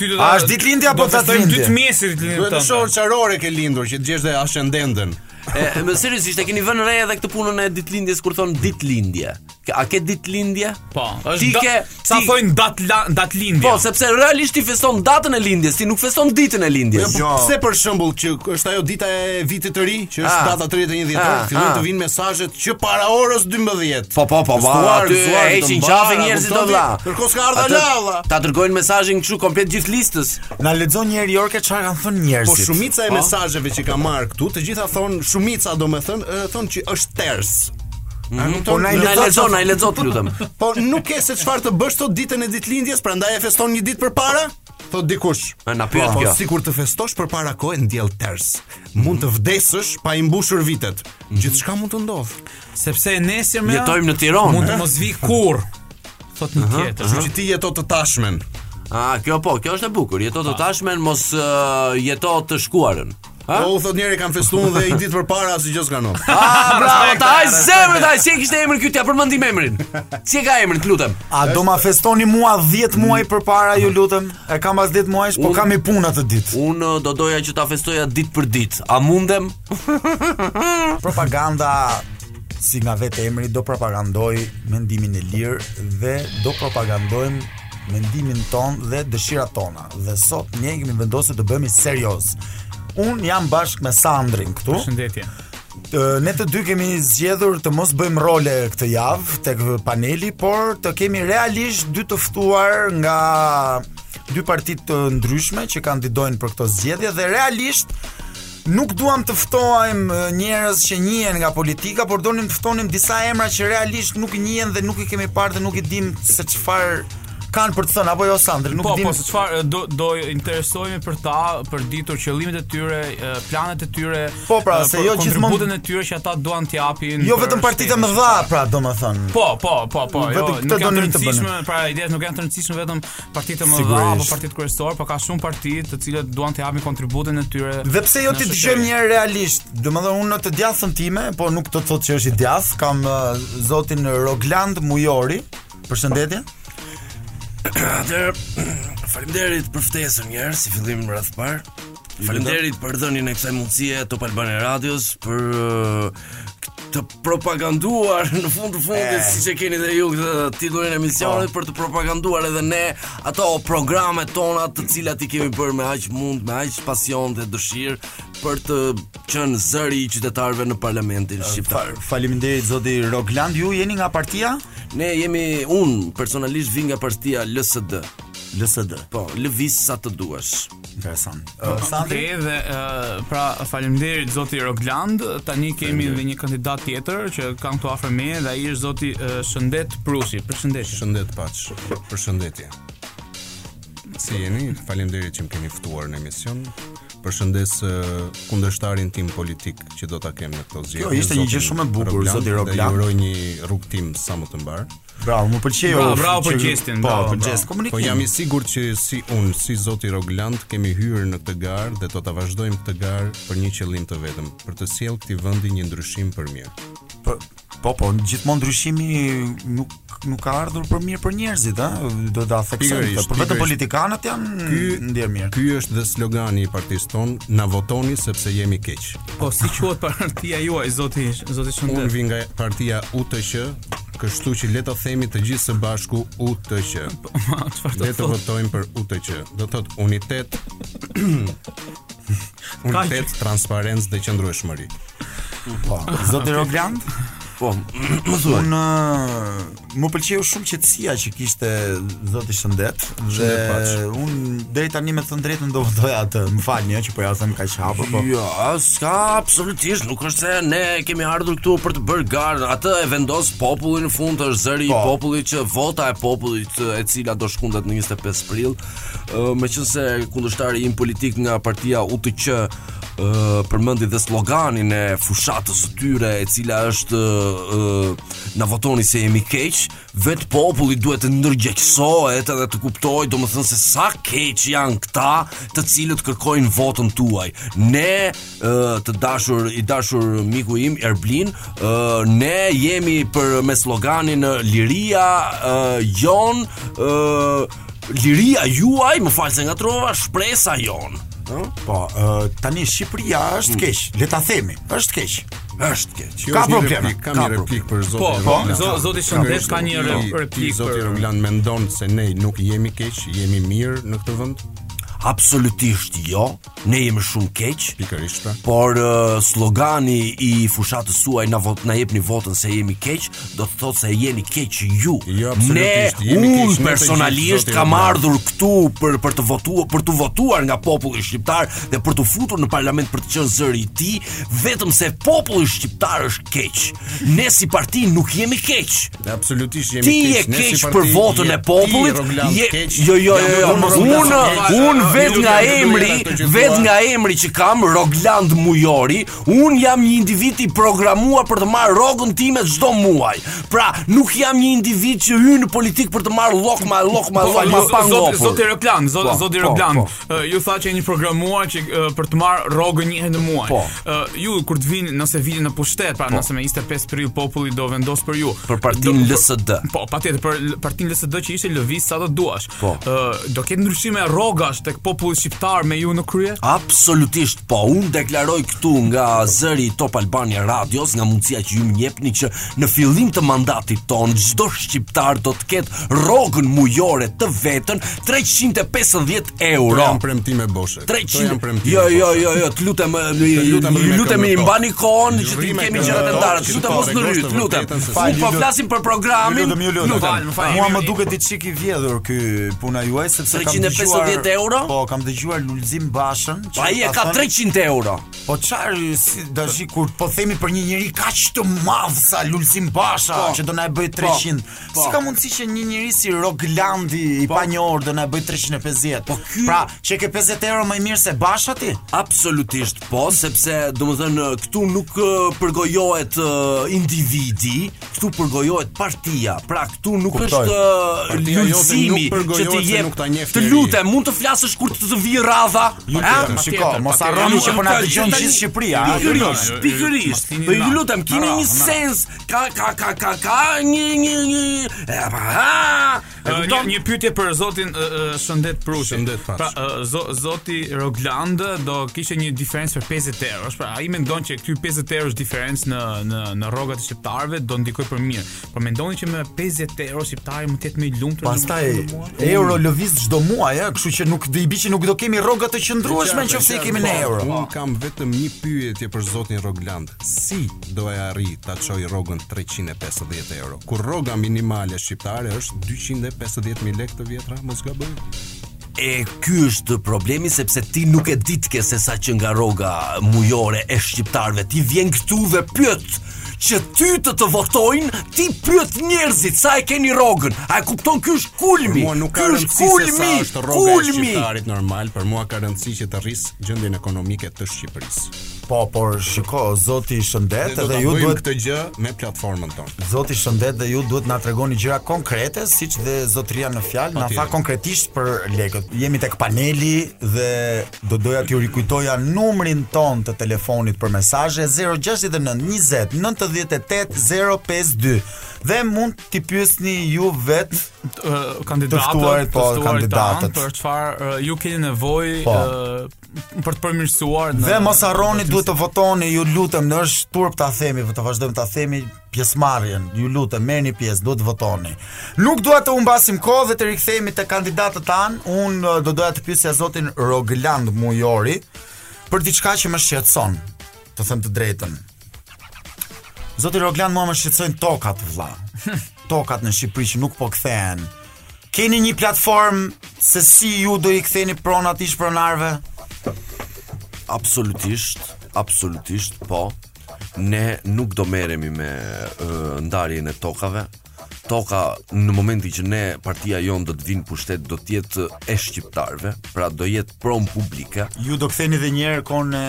[SPEAKER 6] ty do
[SPEAKER 5] A është ditëlindje apo
[SPEAKER 6] do të festojmë
[SPEAKER 5] datëlindje?
[SPEAKER 6] dy të mjesit ditëlindjen
[SPEAKER 2] Duhet të
[SPEAKER 6] tënde.
[SPEAKER 2] shohë çarore ke lindur që të gjesh dhe ascendentën.
[SPEAKER 4] E, e, më seriozisht e keni vënë re edhe këtë punën e ditëlindjes kur thon ditëlindje. Ke- A ke ditëlindje?
[SPEAKER 6] Po,
[SPEAKER 4] Ti
[SPEAKER 6] është
[SPEAKER 4] ke
[SPEAKER 6] da- sa
[SPEAKER 4] ti-
[SPEAKER 6] thojnë datë la- datë lindje.
[SPEAKER 4] Po, sepse realisht ti feston datën e lindjes, ti nuk feston ditën e lindjes.
[SPEAKER 2] Po pse për shembull që është ajo dita e vitit të ri, që është
[SPEAKER 4] Ah.
[SPEAKER 2] data 31
[SPEAKER 4] Ah,
[SPEAKER 2] dhjetor,
[SPEAKER 4] ah.
[SPEAKER 2] fillojnë të vinë mesazhet që para orës 12.
[SPEAKER 4] Po po po, ba,
[SPEAKER 2] Zduar,
[SPEAKER 4] aty
[SPEAKER 2] zduar,
[SPEAKER 4] e
[SPEAKER 2] të
[SPEAKER 4] heqin
[SPEAKER 2] mbara,
[SPEAKER 4] qafe njerëzit do
[SPEAKER 2] kuptoni?
[SPEAKER 4] vlla.
[SPEAKER 2] Kërkos ka ardha
[SPEAKER 4] Atë-
[SPEAKER 2] la, vlla.
[SPEAKER 4] Ta dërgojnë mesazhin kështu komplet gjithë listës.
[SPEAKER 5] Na lexon një herë Jorke çfarë kanë thënë
[SPEAKER 2] Po
[SPEAKER 5] njerëzit
[SPEAKER 2] shumica e mesazheve që ka marr këtu, të gjitha thon shumica domethën ë, thon që është ters. A nuk
[SPEAKER 5] po na i
[SPEAKER 2] nuk-
[SPEAKER 4] Na e lexo, na e lexo të lutem.
[SPEAKER 2] Po nuk ke se çfarë të bësh sot ditën e ditëlindjes, prandaj e feston një ditë përpara? Thot dikush.
[SPEAKER 4] E, na pyet
[SPEAKER 2] po,
[SPEAKER 4] kjo.
[SPEAKER 2] sikur të festosh përpara kohë ndjell ters. Mund të vdesësh pa i mbushur vitet. Gjithçka mund të ndodh.
[SPEAKER 6] sepse e nesër më
[SPEAKER 4] Jetojmë në Tiranë.
[SPEAKER 6] Mund të mos vi kurr. Thot një tjetër.
[SPEAKER 2] Kështu që ti jeto të tashmen.
[SPEAKER 4] A, kjo po, kjo është e bukur. Jeto të tashmen, mos ë, jeto të shkuarën. Ha?
[SPEAKER 2] Po u thot njëri kanë festuar dhe i ditë përpara asgjë s'ka ndodhur.
[SPEAKER 4] A, Ah, bravo, ta haj zemrën, ta haj, si e kishte emrin kjo, t'ja përmëndim emrin. Si e ka emrin, të lutem.
[SPEAKER 5] A do ma festoni mua 10 muaj përpara ju lutem? E kam pas 10 muajsh, po kam i punë atë ditë.
[SPEAKER 4] Unë do doja që ta festoja ditë për ditë. A mundem?
[SPEAKER 5] Propaganda si nga vetë emri do propagandoj mendimin e lirë dhe do propagandojmë mendimin ton dhe dëshirat tona. Dhe sot ne kemi vendosur të bëhemi serioz. Un jam bashkë me Sandrin këtu.
[SPEAKER 6] Shëndetje.
[SPEAKER 5] Të, ne të dy kemi zgjedhur të mos bëjmë role këtë javë tek paneli, por të kemi realisht dy të ftuar nga dy partitë të ndryshme që kandidojnë për këto zgjedhje dhe realisht nuk duam të ftojmë e, njerëz që njihen nga politika, por donim të ftonim disa emra që realisht nuk njihen dhe nuk i kemi parë dhe nuk i dim se çfarë kanë për të thënë apo jo Sandri, nuk
[SPEAKER 6] Po,
[SPEAKER 5] dim.
[SPEAKER 6] po, se çfarë do do interesohemi për ta, për ditur qëllimet e tyre, e, planet e tyre,
[SPEAKER 5] Po, pra,
[SPEAKER 6] e,
[SPEAKER 5] se
[SPEAKER 6] për
[SPEAKER 5] jo gjithmonë-
[SPEAKER 6] kontributën e tyre që ata duan të japin.
[SPEAKER 5] jo
[SPEAKER 6] për
[SPEAKER 5] vetëm partitë më
[SPEAKER 6] shtetin.
[SPEAKER 5] dha, pra domethënë.
[SPEAKER 6] Po, po, po, po, jo,
[SPEAKER 5] Vetëm këtë
[SPEAKER 6] nuk janë të
[SPEAKER 5] donim të
[SPEAKER 6] rëndësishme, pra ideja është nuk janë të rëndësishme vetëm partitë më dha apo
[SPEAKER 5] Sigurisht.
[SPEAKER 6] partitë kryesore, por ka shumë partitë të cilat duan të japin kontributën e tyre.
[SPEAKER 5] Dhe pse jo
[SPEAKER 6] në
[SPEAKER 5] ti
[SPEAKER 6] shoqëri.
[SPEAKER 5] dëgjojmë një herë realisht? Domethënë unë në të djathën time, po nuk do të thotë që është i djath, kam uh, zotin Rogland Mujori. Përshëndetje.
[SPEAKER 4] Atëherë, faleminderit për ftesën njerëz, si fillim rreth parë. Faleminderit për dhënien e kësaj mundësie Top Albania Radios për ë, të propaganduar në fund të fundit siç e keni dhe ju këtë titullin e emisionit për të propaganduar edhe ne ato programet tona të cilat i kemi bërë me aq mund, me aq pasion dhe dëshirë për të qenë zëri i qytetarëve në parlamentin
[SPEAKER 5] Fa
[SPEAKER 4] shqiptar.
[SPEAKER 5] faleminderit zoti Rogland, ju jeni nga partia
[SPEAKER 4] Ne jemi un personalisht vi nga partia LSD.
[SPEAKER 5] LSD.
[SPEAKER 4] Po, lëviz sa të duash.
[SPEAKER 5] Interesant. Uh,
[SPEAKER 6] Okej,
[SPEAKER 5] Sandri,
[SPEAKER 6] dhe ë, pra faleminderit zoti Rogland. Tani kemi edhe një kandidat tjetër që kam këtu afër meje dhe ai është zoti ë, Shëndet Prusi. Përshëndetje.
[SPEAKER 2] Shëndet paç. Përshëndetje. Si jeni? Faleminderit që më keni ftuar në emision. Përshëndes eh, kundërshtarin tim politik që do ta kem në këto zgjedhje.
[SPEAKER 5] Kjo Jo, ishte një gjë
[SPEAKER 2] zotin
[SPEAKER 5] shumë e bukur, zoti
[SPEAKER 2] Dhe
[SPEAKER 5] Roglan.
[SPEAKER 2] ju uroj një rrugtim sa më të mbar.
[SPEAKER 5] bravo, më pëlqeu.
[SPEAKER 6] Bravo, bravo
[SPEAKER 5] që-
[SPEAKER 6] për gjestin,
[SPEAKER 5] Po,
[SPEAKER 6] bravo,
[SPEAKER 5] për
[SPEAKER 6] bravo.
[SPEAKER 5] gjestin. Komunikim.
[SPEAKER 2] Po jam i sigurt që si unë, si zoti Rogland, kemi hyrë në këtë garë dhe do ta vazhdojmë këtë garë për një qëllim të vetëm, për të sjellë këtij vendi një ndryshim për mirë.
[SPEAKER 5] Po, po, po gjithmonë ndryshimi nuk nuk ka ardhur për mirë për njerëzit, ë? Do ta theksojmë.
[SPEAKER 2] Pikërisht,
[SPEAKER 5] këtë. Por vetëm
[SPEAKER 2] pikërisht.
[SPEAKER 5] politikanët janë ndjer mirë.
[SPEAKER 2] Ky është dhe slogani i partisë tonë, na votoni sepse jemi keq.
[SPEAKER 6] Po si quhet partia juaj zoti zoti
[SPEAKER 2] Unë
[SPEAKER 6] Shëndet?
[SPEAKER 2] vi nga partia UTQ, kështu që le ta themi të gjithë së bashku UTQ.
[SPEAKER 6] Po, Ma, Çfarë
[SPEAKER 2] Le
[SPEAKER 6] do
[SPEAKER 2] të
[SPEAKER 6] thotë?
[SPEAKER 2] votojmë për UTQ. Do thotë unitet unitet, transparencë dhe qëndrueshmëri.
[SPEAKER 5] Po, zoti Rogland? Po, më thuaj. Unë ë, më pëlqeu shumë qetësia që kishte zoti Shëndet dhe
[SPEAKER 2] Shëndet paç.
[SPEAKER 5] unë deri tani me të drejtën do votoja atë. Më falni ë, që po ja them kaq hapur, po.
[SPEAKER 4] Jo, s'ka absolutisht, nuk është se ne kemi ardhur këtu për të bërë garë, atë e vendos populli në fund, është zëri i
[SPEAKER 5] Po.
[SPEAKER 4] popullit që vota e popullit e cila do shkundet në 25 prill. Ë, Meqense kundërshtari im politik nga partia UTQ ë, përmendi dhe sloganin e fushatës së tyre e cila është ë, ë, na votoni se jemi keq, vet populli duhet të ndërgjegjësohet edhe të kuptojë domethënë se sa keq janë këta të cilët kërkojnë votën tuaj. Ne ë, të dashur i dashur miku im Erblin, ë, ne jemi për me sloganin ë, liria ë, jon ë, liria juaj, më falë se ngatrova, shpresa jon. Ë?
[SPEAKER 5] Po, ë, tani Shqipëria është keq, le ta themi, është keq.
[SPEAKER 4] Është keq.
[SPEAKER 5] Ka
[SPEAKER 2] është një
[SPEAKER 5] probleme,
[SPEAKER 2] replik, Kam
[SPEAKER 5] ka
[SPEAKER 2] një replikë për zotin.
[SPEAKER 6] Po, po,
[SPEAKER 2] Roglan.
[SPEAKER 6] zo- zoti Shëndet ka një re-
[SPEAKER 2] Ti- ti,
[SPEAKER 6] replikë
[SPEAKER 2] Zoti
[SPEAKER 6] për-
[SPEAKER 2] Roglan mendon se ne nuk jemi keq, jemi mirë në këtë vend?
[SPEAKER 4] Absolutisht jo. Ne jemi shumë keq.
[SPEAKER 2] Pikërisht. pra.
[SPEAKER 4] por uh, slogani i fushatës suaj na vot na jepni votën se jemi keq, do të thotë se jeni keq ju.
[SPEAKER 2] Jo, absolutisht,
[SPEAKER 4] ne
[SPEAKER 2] jemi keq, ne të
[SPEAKER 4] unë
[SPEAKER 2] gjithë,
[SPEAKER 4] personalisht
[SPEAKER 2] zoti
[SPEAKER 4] kam
[SPEAKER 2] Roman.
[SPEAKER 4] ardhur këtu për për të votuar, për të votuar nga populli shqiptar dhe për të futur në parlament për të qenë zëri i tij, vetëm se populli shqiptar është keq. Ne si parti nuk jemi keq.
[SPEAKER 2] Absolutisht jemi
[SPEAKER 4] Ti je
[SPEAKER 2] ne si
[SPEAKER 4] keq
[SPEAKER 2] parti
[SPEAKER 4] për votën
[SPEAKER 2] je-
[SPEAKER 4] e popullit.
[SPEAKER 2] Ti, Roglan,
[SPEAKER 4] Je
[SPEAKER 2] keq.
[SPEAKER 4] jo jo jo. jo.
[SPEAKER 2] Jam vetëm Roglan,
[SPEAKER 4] Unë
[SPEAKER 2] keq.
[SPEAKER 4] unë vet
[SPEAKER 2] Ju
[SPEAKER 4] nga
[SPEAKER 2] jam
[SPEAKER 4] emri,
[SPEAKER 2] duhet ato që
[SPEAKER 4] vet
[SPEAKER 2] thua.
[SPEAKER 4] nga emri që kam Rogland Mujori, unë jam një individ i programuar për të marrë rrogën time çdo muaj. Pra, nuk jam një individ që hyn në politikë për të marrë lokma, lokma,
[SPEAKER 6] Po,
[SPEAKER 4] lokma
[SPEAKER 6] ju-
[SPEAKER 4] pa
[SPEAKER 6] zoti- Zoti
[SPEAKER 4] ngopur.
[SPEAKER 6] Rogland,
[SPEAKER 5] Po,
[SPEAKER 6] zoti zoti
[SPEAKER 5] po,
[SPEAKER 6] Rogland,
[SPEAKER 5] po.
[SPEAKER 6] ë, ju tha që jeni programuar që ë, për të marrë rrogën një herë në muaj.
[SPEAKER 5] Po.
[SPEAKER 6] Ë, Ju kur të vini, nëse vini në pushtet, pra nëse me 25 prill populli do vendos për ju.
[SPEAKER 4] Për partinë
[SPEAKER 6] Do-
[SPEAKER 4] LSD.
[SPEAKER 6] Po, patjetër për l- partinë LSD që ishte lëviz sa do duash.
[SPEAKER 4] Po.
[SPEAKER 6] Ë, do ketë ndryshime rrogash tek populli shqiptar me ju në krye?
[SPEAKER 4] Absolutisht po, unë deklaroj këtu nga zëri i Top Albania Radios, nga mundësia që ju më jepni që në fillim të mandatit ton, çdo shqiptar do të ketë rrogën mujore të vetën 350
[SPEAKER 2] Këto
[SPEAKER 4] euro.
[SPEAKER 2] janë premtime boshe. Këto
[SPEAKER 4] 300
[SPEAKER 2] janë premtime.
[SPEAKER 4] Jo, jo,
[SPEAKER 2] boshe.
[SPEAKER 4] jo, jo, të lutem,
[SPEAKER 2] lutem,
[SPEAKER 4] ju
[SPEAKER 2] rime
[SPEAKER 4] lutem i
[SPEAKER 2] këmbë
[SPEAKER 4] mbani
[SPEAKER 2] kokë.
[SPEAKER 4] kohën që ti
[SPEAKER 2] Rime
[SPEAKER 4] kemi
[SPEAKER 2] këmbë
[SPEAKER 4] gjërat e
[SPEAKER 2] kokë,
[SPEAKER 4] ndara.
[SPEAKER 2] që
[SPEAKER 4] Ju lutem
[SPEAKER 2] po
[SPEAKER 4] mos në
[SPEAKER 2] tregosh
[SPEAKER 4] ryt,
[SPEAKER 2] të
[SPEAKER 4] lutem.
[SPEAKER 2] vërtetën se
[SPEAKER 5] Fal,
[SPEAKER 4] Unë
[SPEAKER 5] ju
[SPEAKER 4] po
[SPEAKER 5] lutem.
[SPEAKER 4] flasim për programin.
[SPEAKER 5] Ju lutem, ju lutem.
[SPEAKER 6] Më fal, më fal.
[SPEAKER 5] Mua
[SPEAKER 6] Jemi-
[SPEAKER 5] më duket i çik i vjedhur ky puna juaj sepse kam
[SPEAKER 4] 350
[SPEAKER 5] dëgjuar-
[SPEAKER 4] euro?
[SPEAKER 5] Po, kam dëgjuar Lulzim Bashën. që
[SPEAKER 4] Pa i e
[SPEAKER 5] Po, ka
[SPEAKER 4] ka
[SPEAKER 5] thënë-
[SPEAKER 4] 300 euro.
[SPEAKER 5] Po çfarë si dashi kur po themi për një njeri kaq të madh sa Lulzim Basha
[SPEAKER 2] Po,
[SPEAKER 5] që do na e bëj 300. Si ka mundësi që një njeri si Roglandi i
[SPEAKER 2] Po.
[SPEAKER 5] panjohur do na e bëj 350? Po
[SPEAKER 4] ky-
[SPEAKER 5] Pra, që ke 50 euro më mirë se Basha ti?
[SPEAKER 4] Absolutisht po, sepse domethënë këtu nuk ë, përgojohet ë, individi, këtu përgojohet partia. Pra këtu nuk
[SPEAKER 5] Kuptoj.
[SPEAKER 4] është ë,
[SPEAKER 2] Partia jote
[SPEAKER 4] lulësimi
[SPEAKER 2] nuk përgojohet
[SPEAKER 4] që ti
[SPEAKER 2] se nuk
[SPEAKER 4] jep.
[SPEAKER 2] ta njeh
[SPEAKER 4] Të
[SPEAKER 2] njeri.
[SPEAKER 4] lutem, mund të flasësh kur të të vijë radha?
[SPEAKER 5] lutem, shiko, mos harroni që po na dëgjon gjithë Shqipëria, a?
[SPEAKER 4] Pikërisht,
[SPEAKER 6] Jo, jo, jo,
[SPEAKER 4] pikërisht.
[SPEAKER 6] mos thini
[SPEAKER 4] Po ju
[SPEAKER 6] na.
[SPEAKER 4] lutem, keni
[SPEAKER 5] Na,
[SPEAKER 4] një
[SPEAKER 5] na.
[SPEAKER 4] sens. Ka ka ka ka ka një një një. E pa. ha, e
[SPEAKER 6] Ë, Një,
[SPEAKER 4] kupton?
[SPEAKER 6] një pyetje për zotin ë, ë, Shëndet Prushi.
[SPEAKER 2] Shëndet, pash.
[SPEAKER 6] Pra ë, zo, zoti Rogland do kishte një diferencë për 50 euro. Pra ai mendon që këty 50 euro është diferencë në në në rrogat e shqiptarëve do ndikoj për mirë. Por mendoni që me 50 euro shqiptari mund të jetë më i lumtur?
[SPEAKER 5] Pastaj euro lëviz çdo muaj, ë, kështu që nuk do i bi që nuk do kemi rroga të qëndrueshme nëse i kemi në euro.
[SPEAKER 2] Unë kam vetëm një pyetje për zotin Rogland. Si do e arri ta çoj rrogën 350 euro? Kur rroga minimale shqiptare është 250000 lekë të vjetra, mos gaboj.
[SPEAKER 4] E ky është problemi sepse ti nuk e ditë ke se sa që nga roga mujore e shqiptarve Ti vjen këtu dhe pyet që ty të të votojnë, ti pyet njerëzit sa e keni rogën. A e kupton ky është kulmi?
[SPEAKER 2] Mua nuk ka
[SPEAKER 4] Ky është
[SPEAKER 2] rëndësi se sa
[SPEAKER 4] kulmi.
[SPEAKER 2] është rroga e
[SPEAKER 4] Kulmi.
[SPEAKER 2] shqiptarit normal, për mua ka rëndësi që të rris gjendjen ekonomike të Shqipërisë.
[SPEAKER 5] Po, por shiko, zoti
[SPEAKER 2] Ne
[SPEAKER 5] shëndet
[SPEAKER 2] do
[SPEAKER 5] dhe
[SPEAKER 2] ta
[SPEAKER 5] ju
[SPEAKER 2] bëjmë
[SPEAKER 5] duhet
[SPEAKER 2] këtë gjë me platformën tonë.
[SPEAKER 5] Zoti shëndet dhe ju duhet na tregoni gjëra konkrete, siç dhe zotëria në fjalë na tha
[SPEAKER 2] Patjetër.
[SPEAKER 5] konkretisht për lekët. Jemi tek paneli dhe do doja t'ju rikujtoja numrin ton të telefonit për mesazhe 069 20 98 052 dhe mund t'i pyesni ju vetë
[SPEAKER 3] kandidatët,
[SPEAKER 5] Të ftuarit, po,
[SPEAKER 3] të ftuarit
[SPEAKER 5] kandidatët.
[SPEAKER 3] tanë, për çfarë uh, ju keni nevojë
[SPEAKER 5] Po.
[SPEAKER 3] uh, për të përmirësuar në
[SPEAKER 5] Dhe mos harroni duhet të votoni, ju lutem, në është turp ta themi, të vazhdojmë ta themi pjesëmarrjen. Ju lutem, merrni pjesë, duhet të votoni. Nuk dua të humbasim kohë dhe të rikthehemi te kandidatët tan. Unë do doja të pyesja zotin Rogland Mujori për diçka që më shqetëson. Të them të drejtën. Zoti Rogland mua më shqetësojnë tokat, vlla. tokat në Shqipëri që nuk po kthehen. Keni një platformë se si ju do i ktheni pronat ish pronarve?
[SPEAKER 4] Absolutisht, absolutisht, po. Ne nuk do merremi me ë, ndarjen e tokave. Toka në momentin që ne partia jon do të vinë në pushtet do të jetë e shqiptarëve, pra do jetë pron publike.
[SPEAKER 5] Ju do ktheni edhe një herë kon e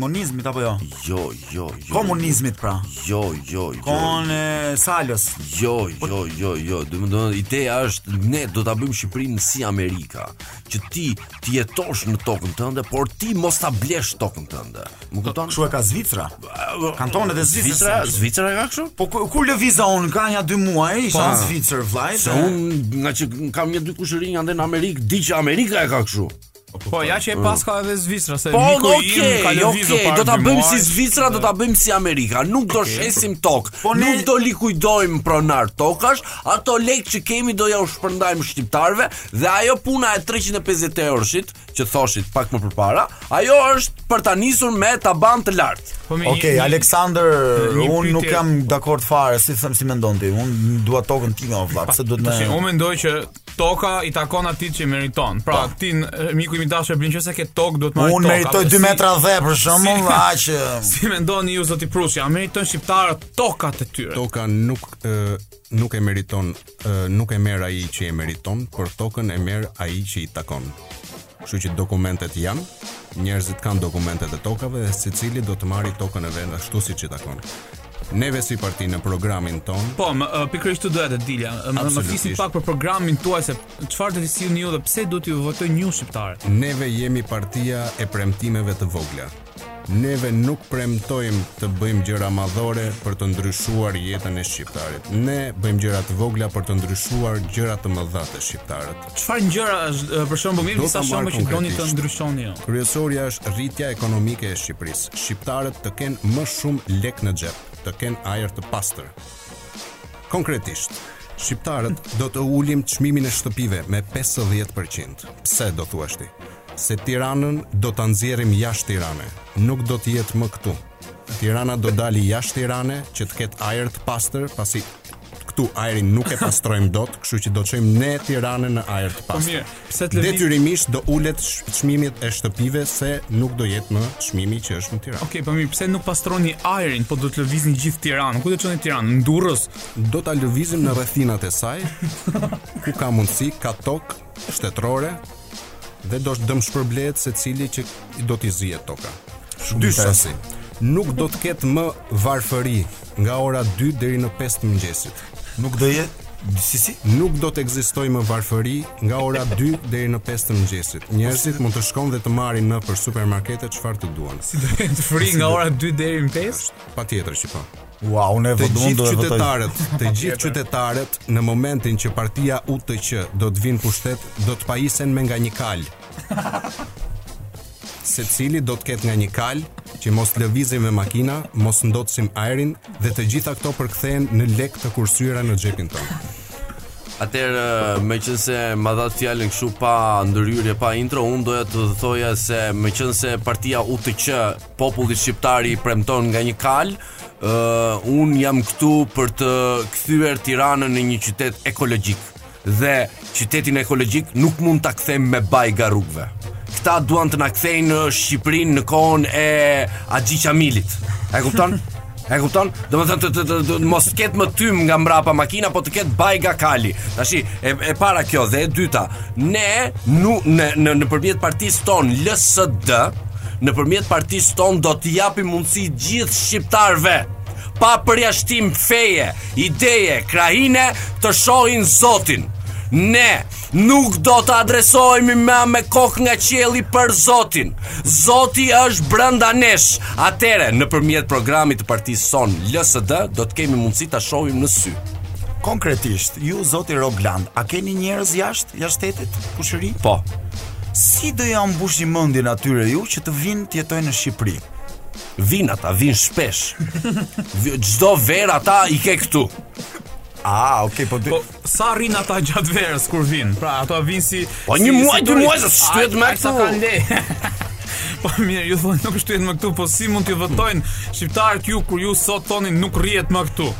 [SPEAKER 5] monizmit apo jo?
[SPEAKER 4] Jo, jo, jo.
[SPEAKER 5] Komunizmit pra.
[SPEAKER 4] Jo, jo, jo.
[SPEAKER 5] Kon e Salos.
[SPEAKER 4] Jo, jo, jo, jo. Do të thonë ideja është ne do ta bëjmë Shqipërinë si Amerika, që ti ti jetosh në tokën tënde, por ti mos ta blesh tokën tënde. Më kupton?
[SPEAKER 5] Kështu e ka Zvicra. Kantonet e Zvicrës.
[SPEAKER 4] Zvicra, Zvicra ka kështu?
[SPEAKER 5] Po ku, kur lëviza unë ka nja 2 muaj, isha në Zvicër vllaj.
[SPEAKER 4] Se unë nga që kam një dy kushëri nga ndër në Amerikë, di që Amerika e ka kështu.
[SPEAKER 3] Po ja
[SPEAKER 5] Mm.
[SPEAKER 3] që e paska edhe Zvicra se
[SPEAKER 4] Po,
[SPEAKER 3] miku
[SPEAKER 4] no,
[SPEAKER 3] i im ka
[SPEAKER 4] okay,
[SPEAKER 3] lëvizur
[SPEAKER 4] okay,
[SPEAKER 3] para
[SPEAKER 4] do ta
[SPEAKER 3] dy
[SPEAKER 4] bëjmë
[SPEAKER 3] muaj.
[SPEAKER 4] si Zvicra, do ta bëjmë si Amerika. Nuk do shesim tokë,
[SPEAKER 5] Po ne-
[SPEAKER 4] nuk do likuidojmë pronar tokash, ato lekë që kemi do ja u shpërndajmë shqiptarëve dhe ajo puna e 350 euroshit që thoshit pak më përpara, ajo është për ta nisur me taban të lartë.
[SPEAKER 3] Po mi,
[SPEAKER 5] Okej,
[SPEAKER 3] një-
[SPEAKER 5] Aleksandër,
[SPEAKER 3] një
[SPEAKER 5] unë nuk
[SPEAKER 3] pyetje-
[SPEAKER 5] jam dakord fare, si them si mendon ti? Unë dua tokën time o vllaj, pse duhet
[SPEAKER 3] Tashi,
[SPEAKER 5] më
[SPEAKER 3] unë mendoj që toka i takon atij që meriton. Pra,
[SPEAKER 2] Po.
[SPEAKER 3] ti n- miku i mi dashur bën nëse ke tokë do të marrë tokë.
[SPEAKER 5] Unë
[SPEAKER 6] po
[SPEAKER 5] meritoj
[SPEAKER 3] apo
[SPEAKER 5] 2
[SPEAKER 3] si-
[SPEAKER 5] metra dhe për shembull,
[SPEAKER 3] si-
[SPEAKER 5] aq e,
[SPEAKER 3] Si mendoni ju zoti Prusi, a meriton shqiptarët tokat e tyre?
[SPEAKER 2] Toka nuk e, nuk e meriton, e, nuk e merr ai që e meriton, por tokën e merr ai që i takon. Kështu që dokumentet janë, njerëzit kanë dokumentet e tokave dhe secili do të marrë tokën e vet ashtu siç i takon. Neve si parti në programin ton
[SPEAKER 3] Po, më ë, pikërisht të doja të dilja. Ë, Më, më flisim
[SPEAKER 2] Absolutisht.
[SPEAKER 3] pak për programin tuaj se çfarë do të sillni ju dhe pse duhet ju votojnë ju shqiptarët.
[SPEAKER 2] Neve jemi partia e premtimeve të vogla. Neve nuk premtojmë të bëjmë gjëra madhore për të ndryshuar jetën e shqiptarit. Ne bëjmë gjëra të vogla për të ndryshuar gjëra të mëdha të shqiptarët.
[SPEAKER 3] Çfarë gjëra është ë, për shembull, më
[SPEAKER 2] Do
[SPEAKER 3] disa
[SPEAKER 2] ta marr
[SPEAKER 3] shembull që doni të
[SPEAKER 2] konkretisht.
[SPEAKER 3] ndryshoni jo. Po
[SPEAKER 6] Jo.
[SPEAKER 3] ju.
[SPEAKER 2] Kryesorja është rritja ekonomike e Shqipërisë. Shqiptarët të kenë më shumë lek në xhep, të kenë ajër të pastër. Konkretisht, shqiptarët do të ulim çmimin e shtëpive me 50%. Pse do thuash ti? Se Tiranën do ta nxjerrim jashtë Tiranës. Nuk do të jetë më këtu. Tirana do dali jashtë Tirane që të ketë ajër të pastër, pasi këtu ajrin nuk e pastrojmë dot, kështu që do të çojmë ne Tiranën në ajër
[SPEAKER 6] Po
[SPEAKER 2] të pastër.
[SPEAKER 3] mirë, pse të lëviz-
[SPEAKER 2] Detyrimisht do ulet sh- çmimet e shtëpive se nuk do jetë më çmimi që është në Tiranë.
[SPEAKER 3] Okej, po mirë, pse nuk pastroni ajrin, po do të lëvizni gjithë Tiranën? Ku do të çoni Tiranën? Në Durrës?
[SPEAKER 2] Do ta lëvizim në rrethinat e saj, ku ka mundësi, ka tokë shtetërore dhe do të dëm shpërblehet secili që do t'i zihet toka. Dy shasi. Nuk do të ketë më varfëri nga ora 2 deri në 5 të mëngjesit.
[SPEAKER 5] nuk do jetë si si
[SPEAKER 2] Nuk do të ekzistojë më varfëri nga ora 2 deri në 5 të mëngjesit. Njerëzit mund të shkojnë dhe të marrin në për supermarkete çfarë të duan.
[SPEAKER 3] të fri nga ora 2 deri në 5?
[SPEAKER 2] Patjetër që po.
[SPEAKER 5] Ua, unë e
[SPEAKER 2] Të
[SPEAKER 5] vëdun do
[SPEAKER 2] gjithë
[SPEAKER 5] e votoj.
[SPEAKER 2] qytetarët, të gjithë qytetarët në momentin që partia UTQ do të vinë pushtet, do të pajisen me nga një kal. Se cili do të ketë nga një kal që mos lëvizim me makina, mos ndotësim ajrin dhe të gjitha këto përkthehen në lek të kursyra në xhepin tonë.
[SPEAKER 4] Atëherë, me qënë se ma dhatë fjallin këshu pa ndëryrje, pa intro, unë doja të thoja se me qënë se partia UTQ, populli shqiptari i premton nga një kalë, uh, unë jam këtu për të këthyër tiranën në një qytet ekologjik. Dhe qytetin ekologjik nuk mund ta kthejmë me bajga rrugëve. Këta duan të na kthejnë në Shqipërinë në kohën e Axhi Qamilit. E kupton? E kupton? Do të thotë të, të, të, mos ketë më tym nga mbrapa makina, po të ketë bajga kali. Tashi e, e para kjo dhe e dyta, ne nu, në në nëpërmjet partisë tonë LSD, nëpërmjet partisë tonë do të japim mundësi gjithë shqiptarëve pa përjashtim feje, ideje, krahine të shohin Zotin. Ne nuk do të adresohemi më me kokë nga qielli për Zotin. Zoti është brenda nesh. Atëre, nëpërmjet programit të partisë son LSD do të kemi mundësi ta shohim në sy.
[SPEAKER 5] Konkretisht, ju zoti Rogland, a keni njerëz jashtë, jashtë shtetit, kushëri?
[SPEAKER 4] Po.
[SPEAKER 5] Si do ja mbushni mendjen atyre ju që të vinë të jetojnë në Shqipëri?
[SPEAKER 4] Vin ata, vin shpesh. Vi- Çdo verë ata i ke këtu.
[SPEAKER 5] Ah, okay, po, dy...
[SPEAKER 3] Po sa rrin ata gjatë verës kur vin? Pra ato vin si
[SPEAKER 4] Po,
[SPEAKER 3] si-
[SPEAKER 4] një muaj,
[SPEAKER 3] si
[SPEAKER 4] dy
[SPEAKER 3] turist.
[SPEAKER 4] muaj, se shtyhet
[SPEAKER 3] Ai-
[SPEAKER 4] me
[SPEAKER 3] ai sa
[SPEAKER 4] këtu.
[SPEAKER 3] kanë lejë. Po mirë, ju thonë nuk shtyhet më këtu, po si mund t'ju votojnë shqiptarët ju kur ju sot thoni nuk rrihet më këtu?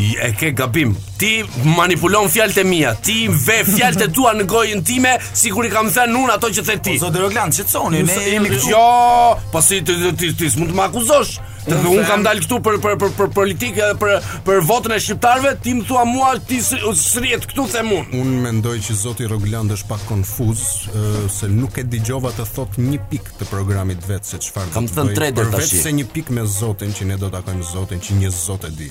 [SPEAKER 4] I- E ke gabim. Ti manipulon fjalët e mia. Ti ve fjalët e tua në gojën time, sikur i kam thënë unë ato që the ti.
[SPEAKER 5] zoti Rogland, qetësoni, ne jemi këtu.
[SPEAKER 4] Jo, po si ti ti ti s'mund të më akuzosh. Të dhe unë kam dalë këtu për për për për politikë dhe për për votën e shqiptarëve, ti më thua mua ti s- s'rrihet këtu them unë.
[SPEAKER 2] Unë mendoj që zoti Rogland është pak konfuz, ë, se nuk e dëgjova të thot një pikë të programit vetë se çfarë do
[SPEAKER 4] Kam
[SPEAKER 2] të
[SPEAKER 4] thënë
[SPEAKER 2] bëj,
[SPEAKER 4] tre deri
[SPEAKER 2] përveç
[SPEAKER 4] tashi.
[SPEAKER 2] se një pikë me zotin që ne do takojmë zotin që një zot e di.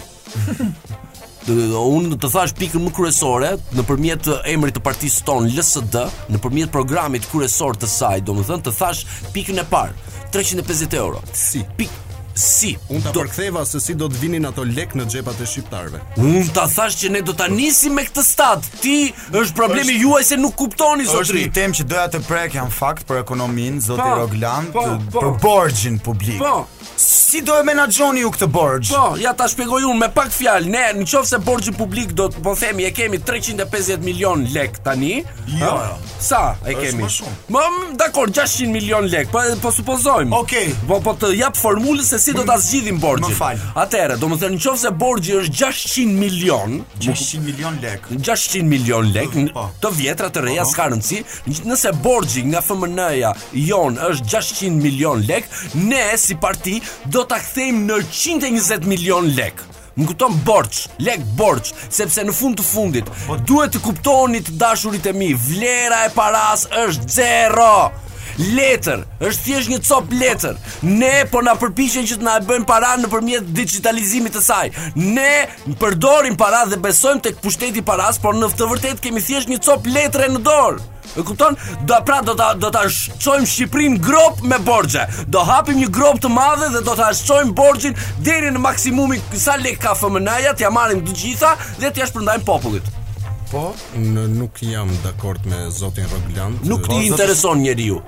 [SPEAKER 4] Të- Unë të thash pikën më kryesore nëpërmjet emrit të partisë tonë LSD, nëpërmjet programit kryesor të saj, domethënë të thash pikën e parë, 350 euro.
[SPEAKER 2] Si?
[SPEAKER 4] Pik si.
[SPEAKER 2] Unë ta
[SPEAKER 4] Do-
[SPEAKER 2] përktheva se si do të vinin ato lek në xhepat e shqiptarëve.
[SPEAKER 4] Unë ta thash që ne do ta nisim me këtë stat. Ti është problemi juaj se nuk kuptoni
[SPEAKER 5] Është
[SPEAKER 4] zotri.
[SPEAKER 5] një temë që doja të prek janë fakt për ekonominë, zoti
[SPEAKER 4] Po,
[SPEAKER 5] Rogland,
[SPEAKER 4] po,
[SPEAKER 5] të-
[SPEAKER 4] po.
[SPEAKER 5] për borxhin publik.
[SPEAKER 4] Po.
[SPEAKER 5] Si do e menaxhoni ju këtë borxh?
[SPEAKER 4] Po, ja ta shpjegoj unë me pak fjalë. Ne në qoftë se borxhi publik do të po themi e kemi 350 milion lek tani.
[SPEAKER 5] Jo,
[SPEAKER 4] ha?
[SPEAKER 5] jo.
[SPEAKER 4] Sa e
[SPEAKER 5] Është
[SPEAKER 4] kemi?
[SPEAKER 5] më shumë.
[SPEAKER 4] Më m, dakor, 600 milion lek, po po supozojmë.
[SPEAKER 5] Okej.
[SPEAKER 4] Po po të jap formulën se si do ta zgjidhim borxhin.
[SPEAKER 5] më fal.
[SPEAKER 4] Atëherë, domethënë në qoftë se borxhi është 600 milion,
[SPEAKER 5] 600 milion lekë.
[SPEAKER 4] 600 milion lek n-
[SPEAKER 5] Po.
[SPEAKER 4] të vjetra të reja s'ka rëndësi n- nëse borxhi nga FMN-ja jon është 600 milion lek ne si parti do ta kthejmë në 120 milion lek Më kupton borç, lek borç, sepse në fund të fundit
[SPEAKER 5] Po.
[SPEAKER 4] duhet të kuptoni të dashurit e mi, vlera e paras është zero. Letër, është thjesht një cop letër. Ne po na përpiqen që të na e bëjnë para nëpërmjet digitalizimit të saj. Ne përdorim para dhe besojmë tek pushteti i paras, por në të vërtetë kemi thjesht një cop letre në dorë. E kupton? Do pra do ta do ta shqojmë Shqipërinë grop me borxhe. Do hapim një grop të madhe dhe do ta shqojmë borxhin deri në maksimumin sa lek ka FMN-ja, t'ja marrim të gjitha dhe t'ja shpërndajmë popullit.
[SPEAKER 2] Unë nuk jam dakord me zotin Rogland.
[SPEAKER 4] Nuk ti intereson njeriu.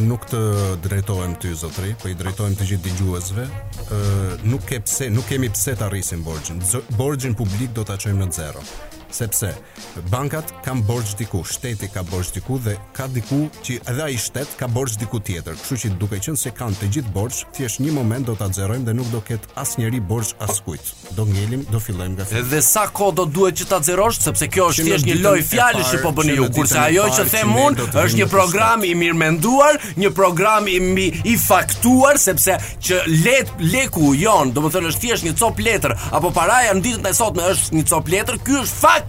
[SPEAKER 2] nuk të drejtohem ty zotri, po i drejtohem të gjithë dëgjuesve. Ë nuk ke pse, nuk kemi pse ta rrisim borxhin. Zo- Borxhin publik do ta çojmë në zero. Sepse bankat kanë borxh diku, shteti ka borxh diku dhe ka diku që edhe ai shtet ka borxh diku tjetër. Kështu që duke qenë se kanë të gjithë borxh, thjesht një moment do ta xherojmë dhe nuk do ket asnjëri borxh askujt. Do ngelim, do fillojmë nga filli.
[SPEAKER 4] Dhe sa kohë do duhet që ta xerosh sepse kjo është
[SPEAKER 2] Që në
[SPEAKER 4] thjesht një
[SPEAKER 2] ditën
[SPEAKER 4] lloj
[SPEAKER 2] e
[SPEAKER 4] fjalësh
[SPEAKER 2] parë,
[SPEAKER 4] që po
[SPEAKER 2] që
[SPEAKER 4] bëni
[SPEAKER 2] në
[SPEAKER 4] ju,
[SPEAKER 2] ditën
[SPEAKER 4] kurse
[SPEAKER 2] e
[SPEAKER 4] ajo
[SPEAKER 2] parë
[SPEAKER 4] që
[SPEAKER 2] që
[SPEAKER 4] them
[SPEAKER 2] ne
[SPEAKER 4] unë
[SPEAKER 2] do të
[SPEAKER 4] është
[SPEAKER 2] vinë
[SPEAKER 4] një
[SPEAKER 2] në
[SPEAKER 4] program i mirë menduar, një program i mi, i faktuar sepse që let leku jon, domethënë është thjesht një cop letër apo paraja në ditën e sotme është një cop letër, ky është fakt.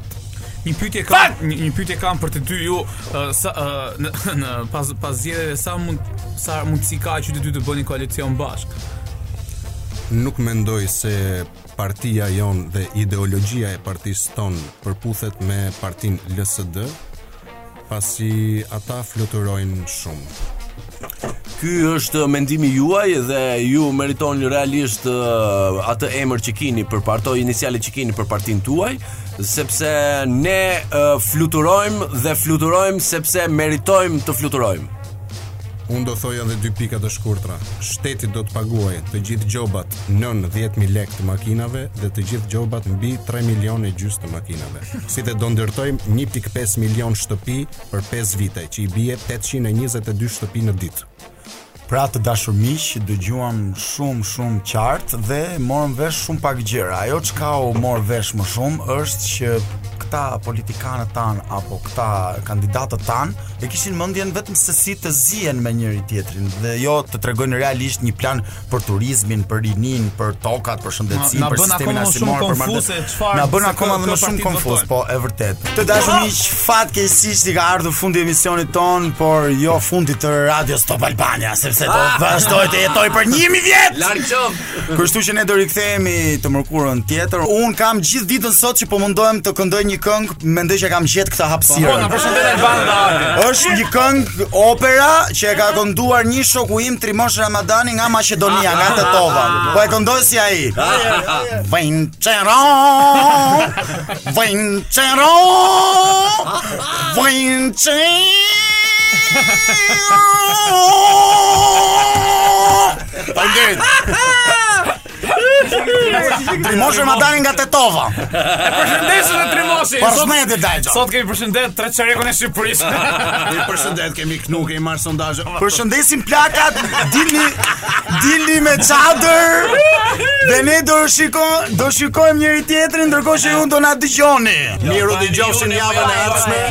[SPEAKER 3] Një pyetje kam,
[SPEAKER 4] Fat!
[SPEAKER 3] një, një pyetje kam për të dy ju, ë, sa ë, në, në pas pas zgjedhjeve sa mund sa mundsi ka që të dy të bëni koalicion bashkë?
[SPEAKER 2] Nuk mendoj se partia jon dhe ideologjia e partisë ton përputhet me partin LSD, pasi ata fluturojnë shumë.
[SPEAKER 4] Ky është mendimi juaj dhe ju meritoni realisht ë, atë emër që keni për parto iniciale që keni për partin tuaj, sepse ne ë, fluturojmë dhe fluturojmë sepse meritojmë të fluturojmë.
[SPEAKER 2] Unë do thoja edhe dy pika të shkurtra. Shteti do të paguajë të gjithë gjobat nën 10.000 lek të makinave dhe të gjithë gjobat mbi 3 milion e gjys të makinave. Si dhe do ndërtojmë 1.5 milion shtëpi për 5 vite, që i bie 822 shtëpi në ditë.
[SPEAKER 5] Pra të dashur miq, dëgjuam shumë shumë qartë dhe morëm vesh shumë pak gjëra. Ajo çka u mor vesh më shumë është që këta politikanët tan apo këta kandidatët tan e kishin mendjen vetëm se si të zihen me njëri tjetrin dhe jo të tregojnë realisht një plan për turizmin, për rinin, për tokat, për shëndetësinë,
[SPEAKER 3] Na- na
[SPEAKER 5] për
[SPEAKER 3] bën akoma
[SPEAKER 5] sistemin
[SPEAKER 3] më shumë
[SPEAKER 5] arsimor, për
[SPEAKER 3] konfuz se
[SPEAKER 5] marrëdhënie.
[SPEAKER 3] çfarë-
[SPEAKER 5] Na bën
[SPEAKER 3] se
[SPEAKER 5] akoma
[SPEAKER 3] kë-
[SPEAKER 5] më
[SPEAKER 3] kë
[SPEAKER 5] shumë
[SPEAKER 3] partitë
[SPEAKER 5] konfuz,
[SPEAKER 3] votojnë.
[SPEAKER 5] po e vërtet. Të dashur miq, fatkeqësisht i ka ardhur fundi i emisionit ton, por jo fundi të radios Top Albania, sepse do
[SPEAKER 6] Ah!
[SPEAKER 5] vazhdoj të jetoj për 1000 vjet.
[SPEAKER 4] Larg qof.
[SPEAKER 5] Kështu që ne do rikthehemi të mërkurën tjetër. Un kam gjithë ditën sot që po mundohem të këndoj një këngë, mendoj që kam gjetë këtë
[SPEAKER 6] Po, na
[SPEAKER 5] hapësirë.
[SPEAKER 6] përshëndet Albana dhe Adi.
[SPEAKER 5] Është një këngë opera që e ka kënduar një shoku im Trimosh Ramadani nga Maqedonia, nga
[SPEAKER 6] Ah,
[SPEAKER 5] Tetova. Po e këndoj si ai. Vincero! Vincero! Vincero! Faleminderit. Trimosh Ramadani nga Tetova.
[SPEAKER 6] Përshëndesim dhe Trimoshi. Sot
[SPEAKER 5] Por e dajjo.
[SPEAKER 6] sot kemi përshëndet Treçarekun e Shqipërisë.
[SPEAKER 2] Ju përshëndet, kemi knu, kemi marrë sondazhe.
[SPEAKER 5] Përshëndesim plakat, dilni dilni me çadër. Dhe ne do shiko, do shikojmë njëri tjetrin ndërkohë që ju do na dëgjoni.
[SPEAKER 2] Miru dëgjofshin javën e ardhshme.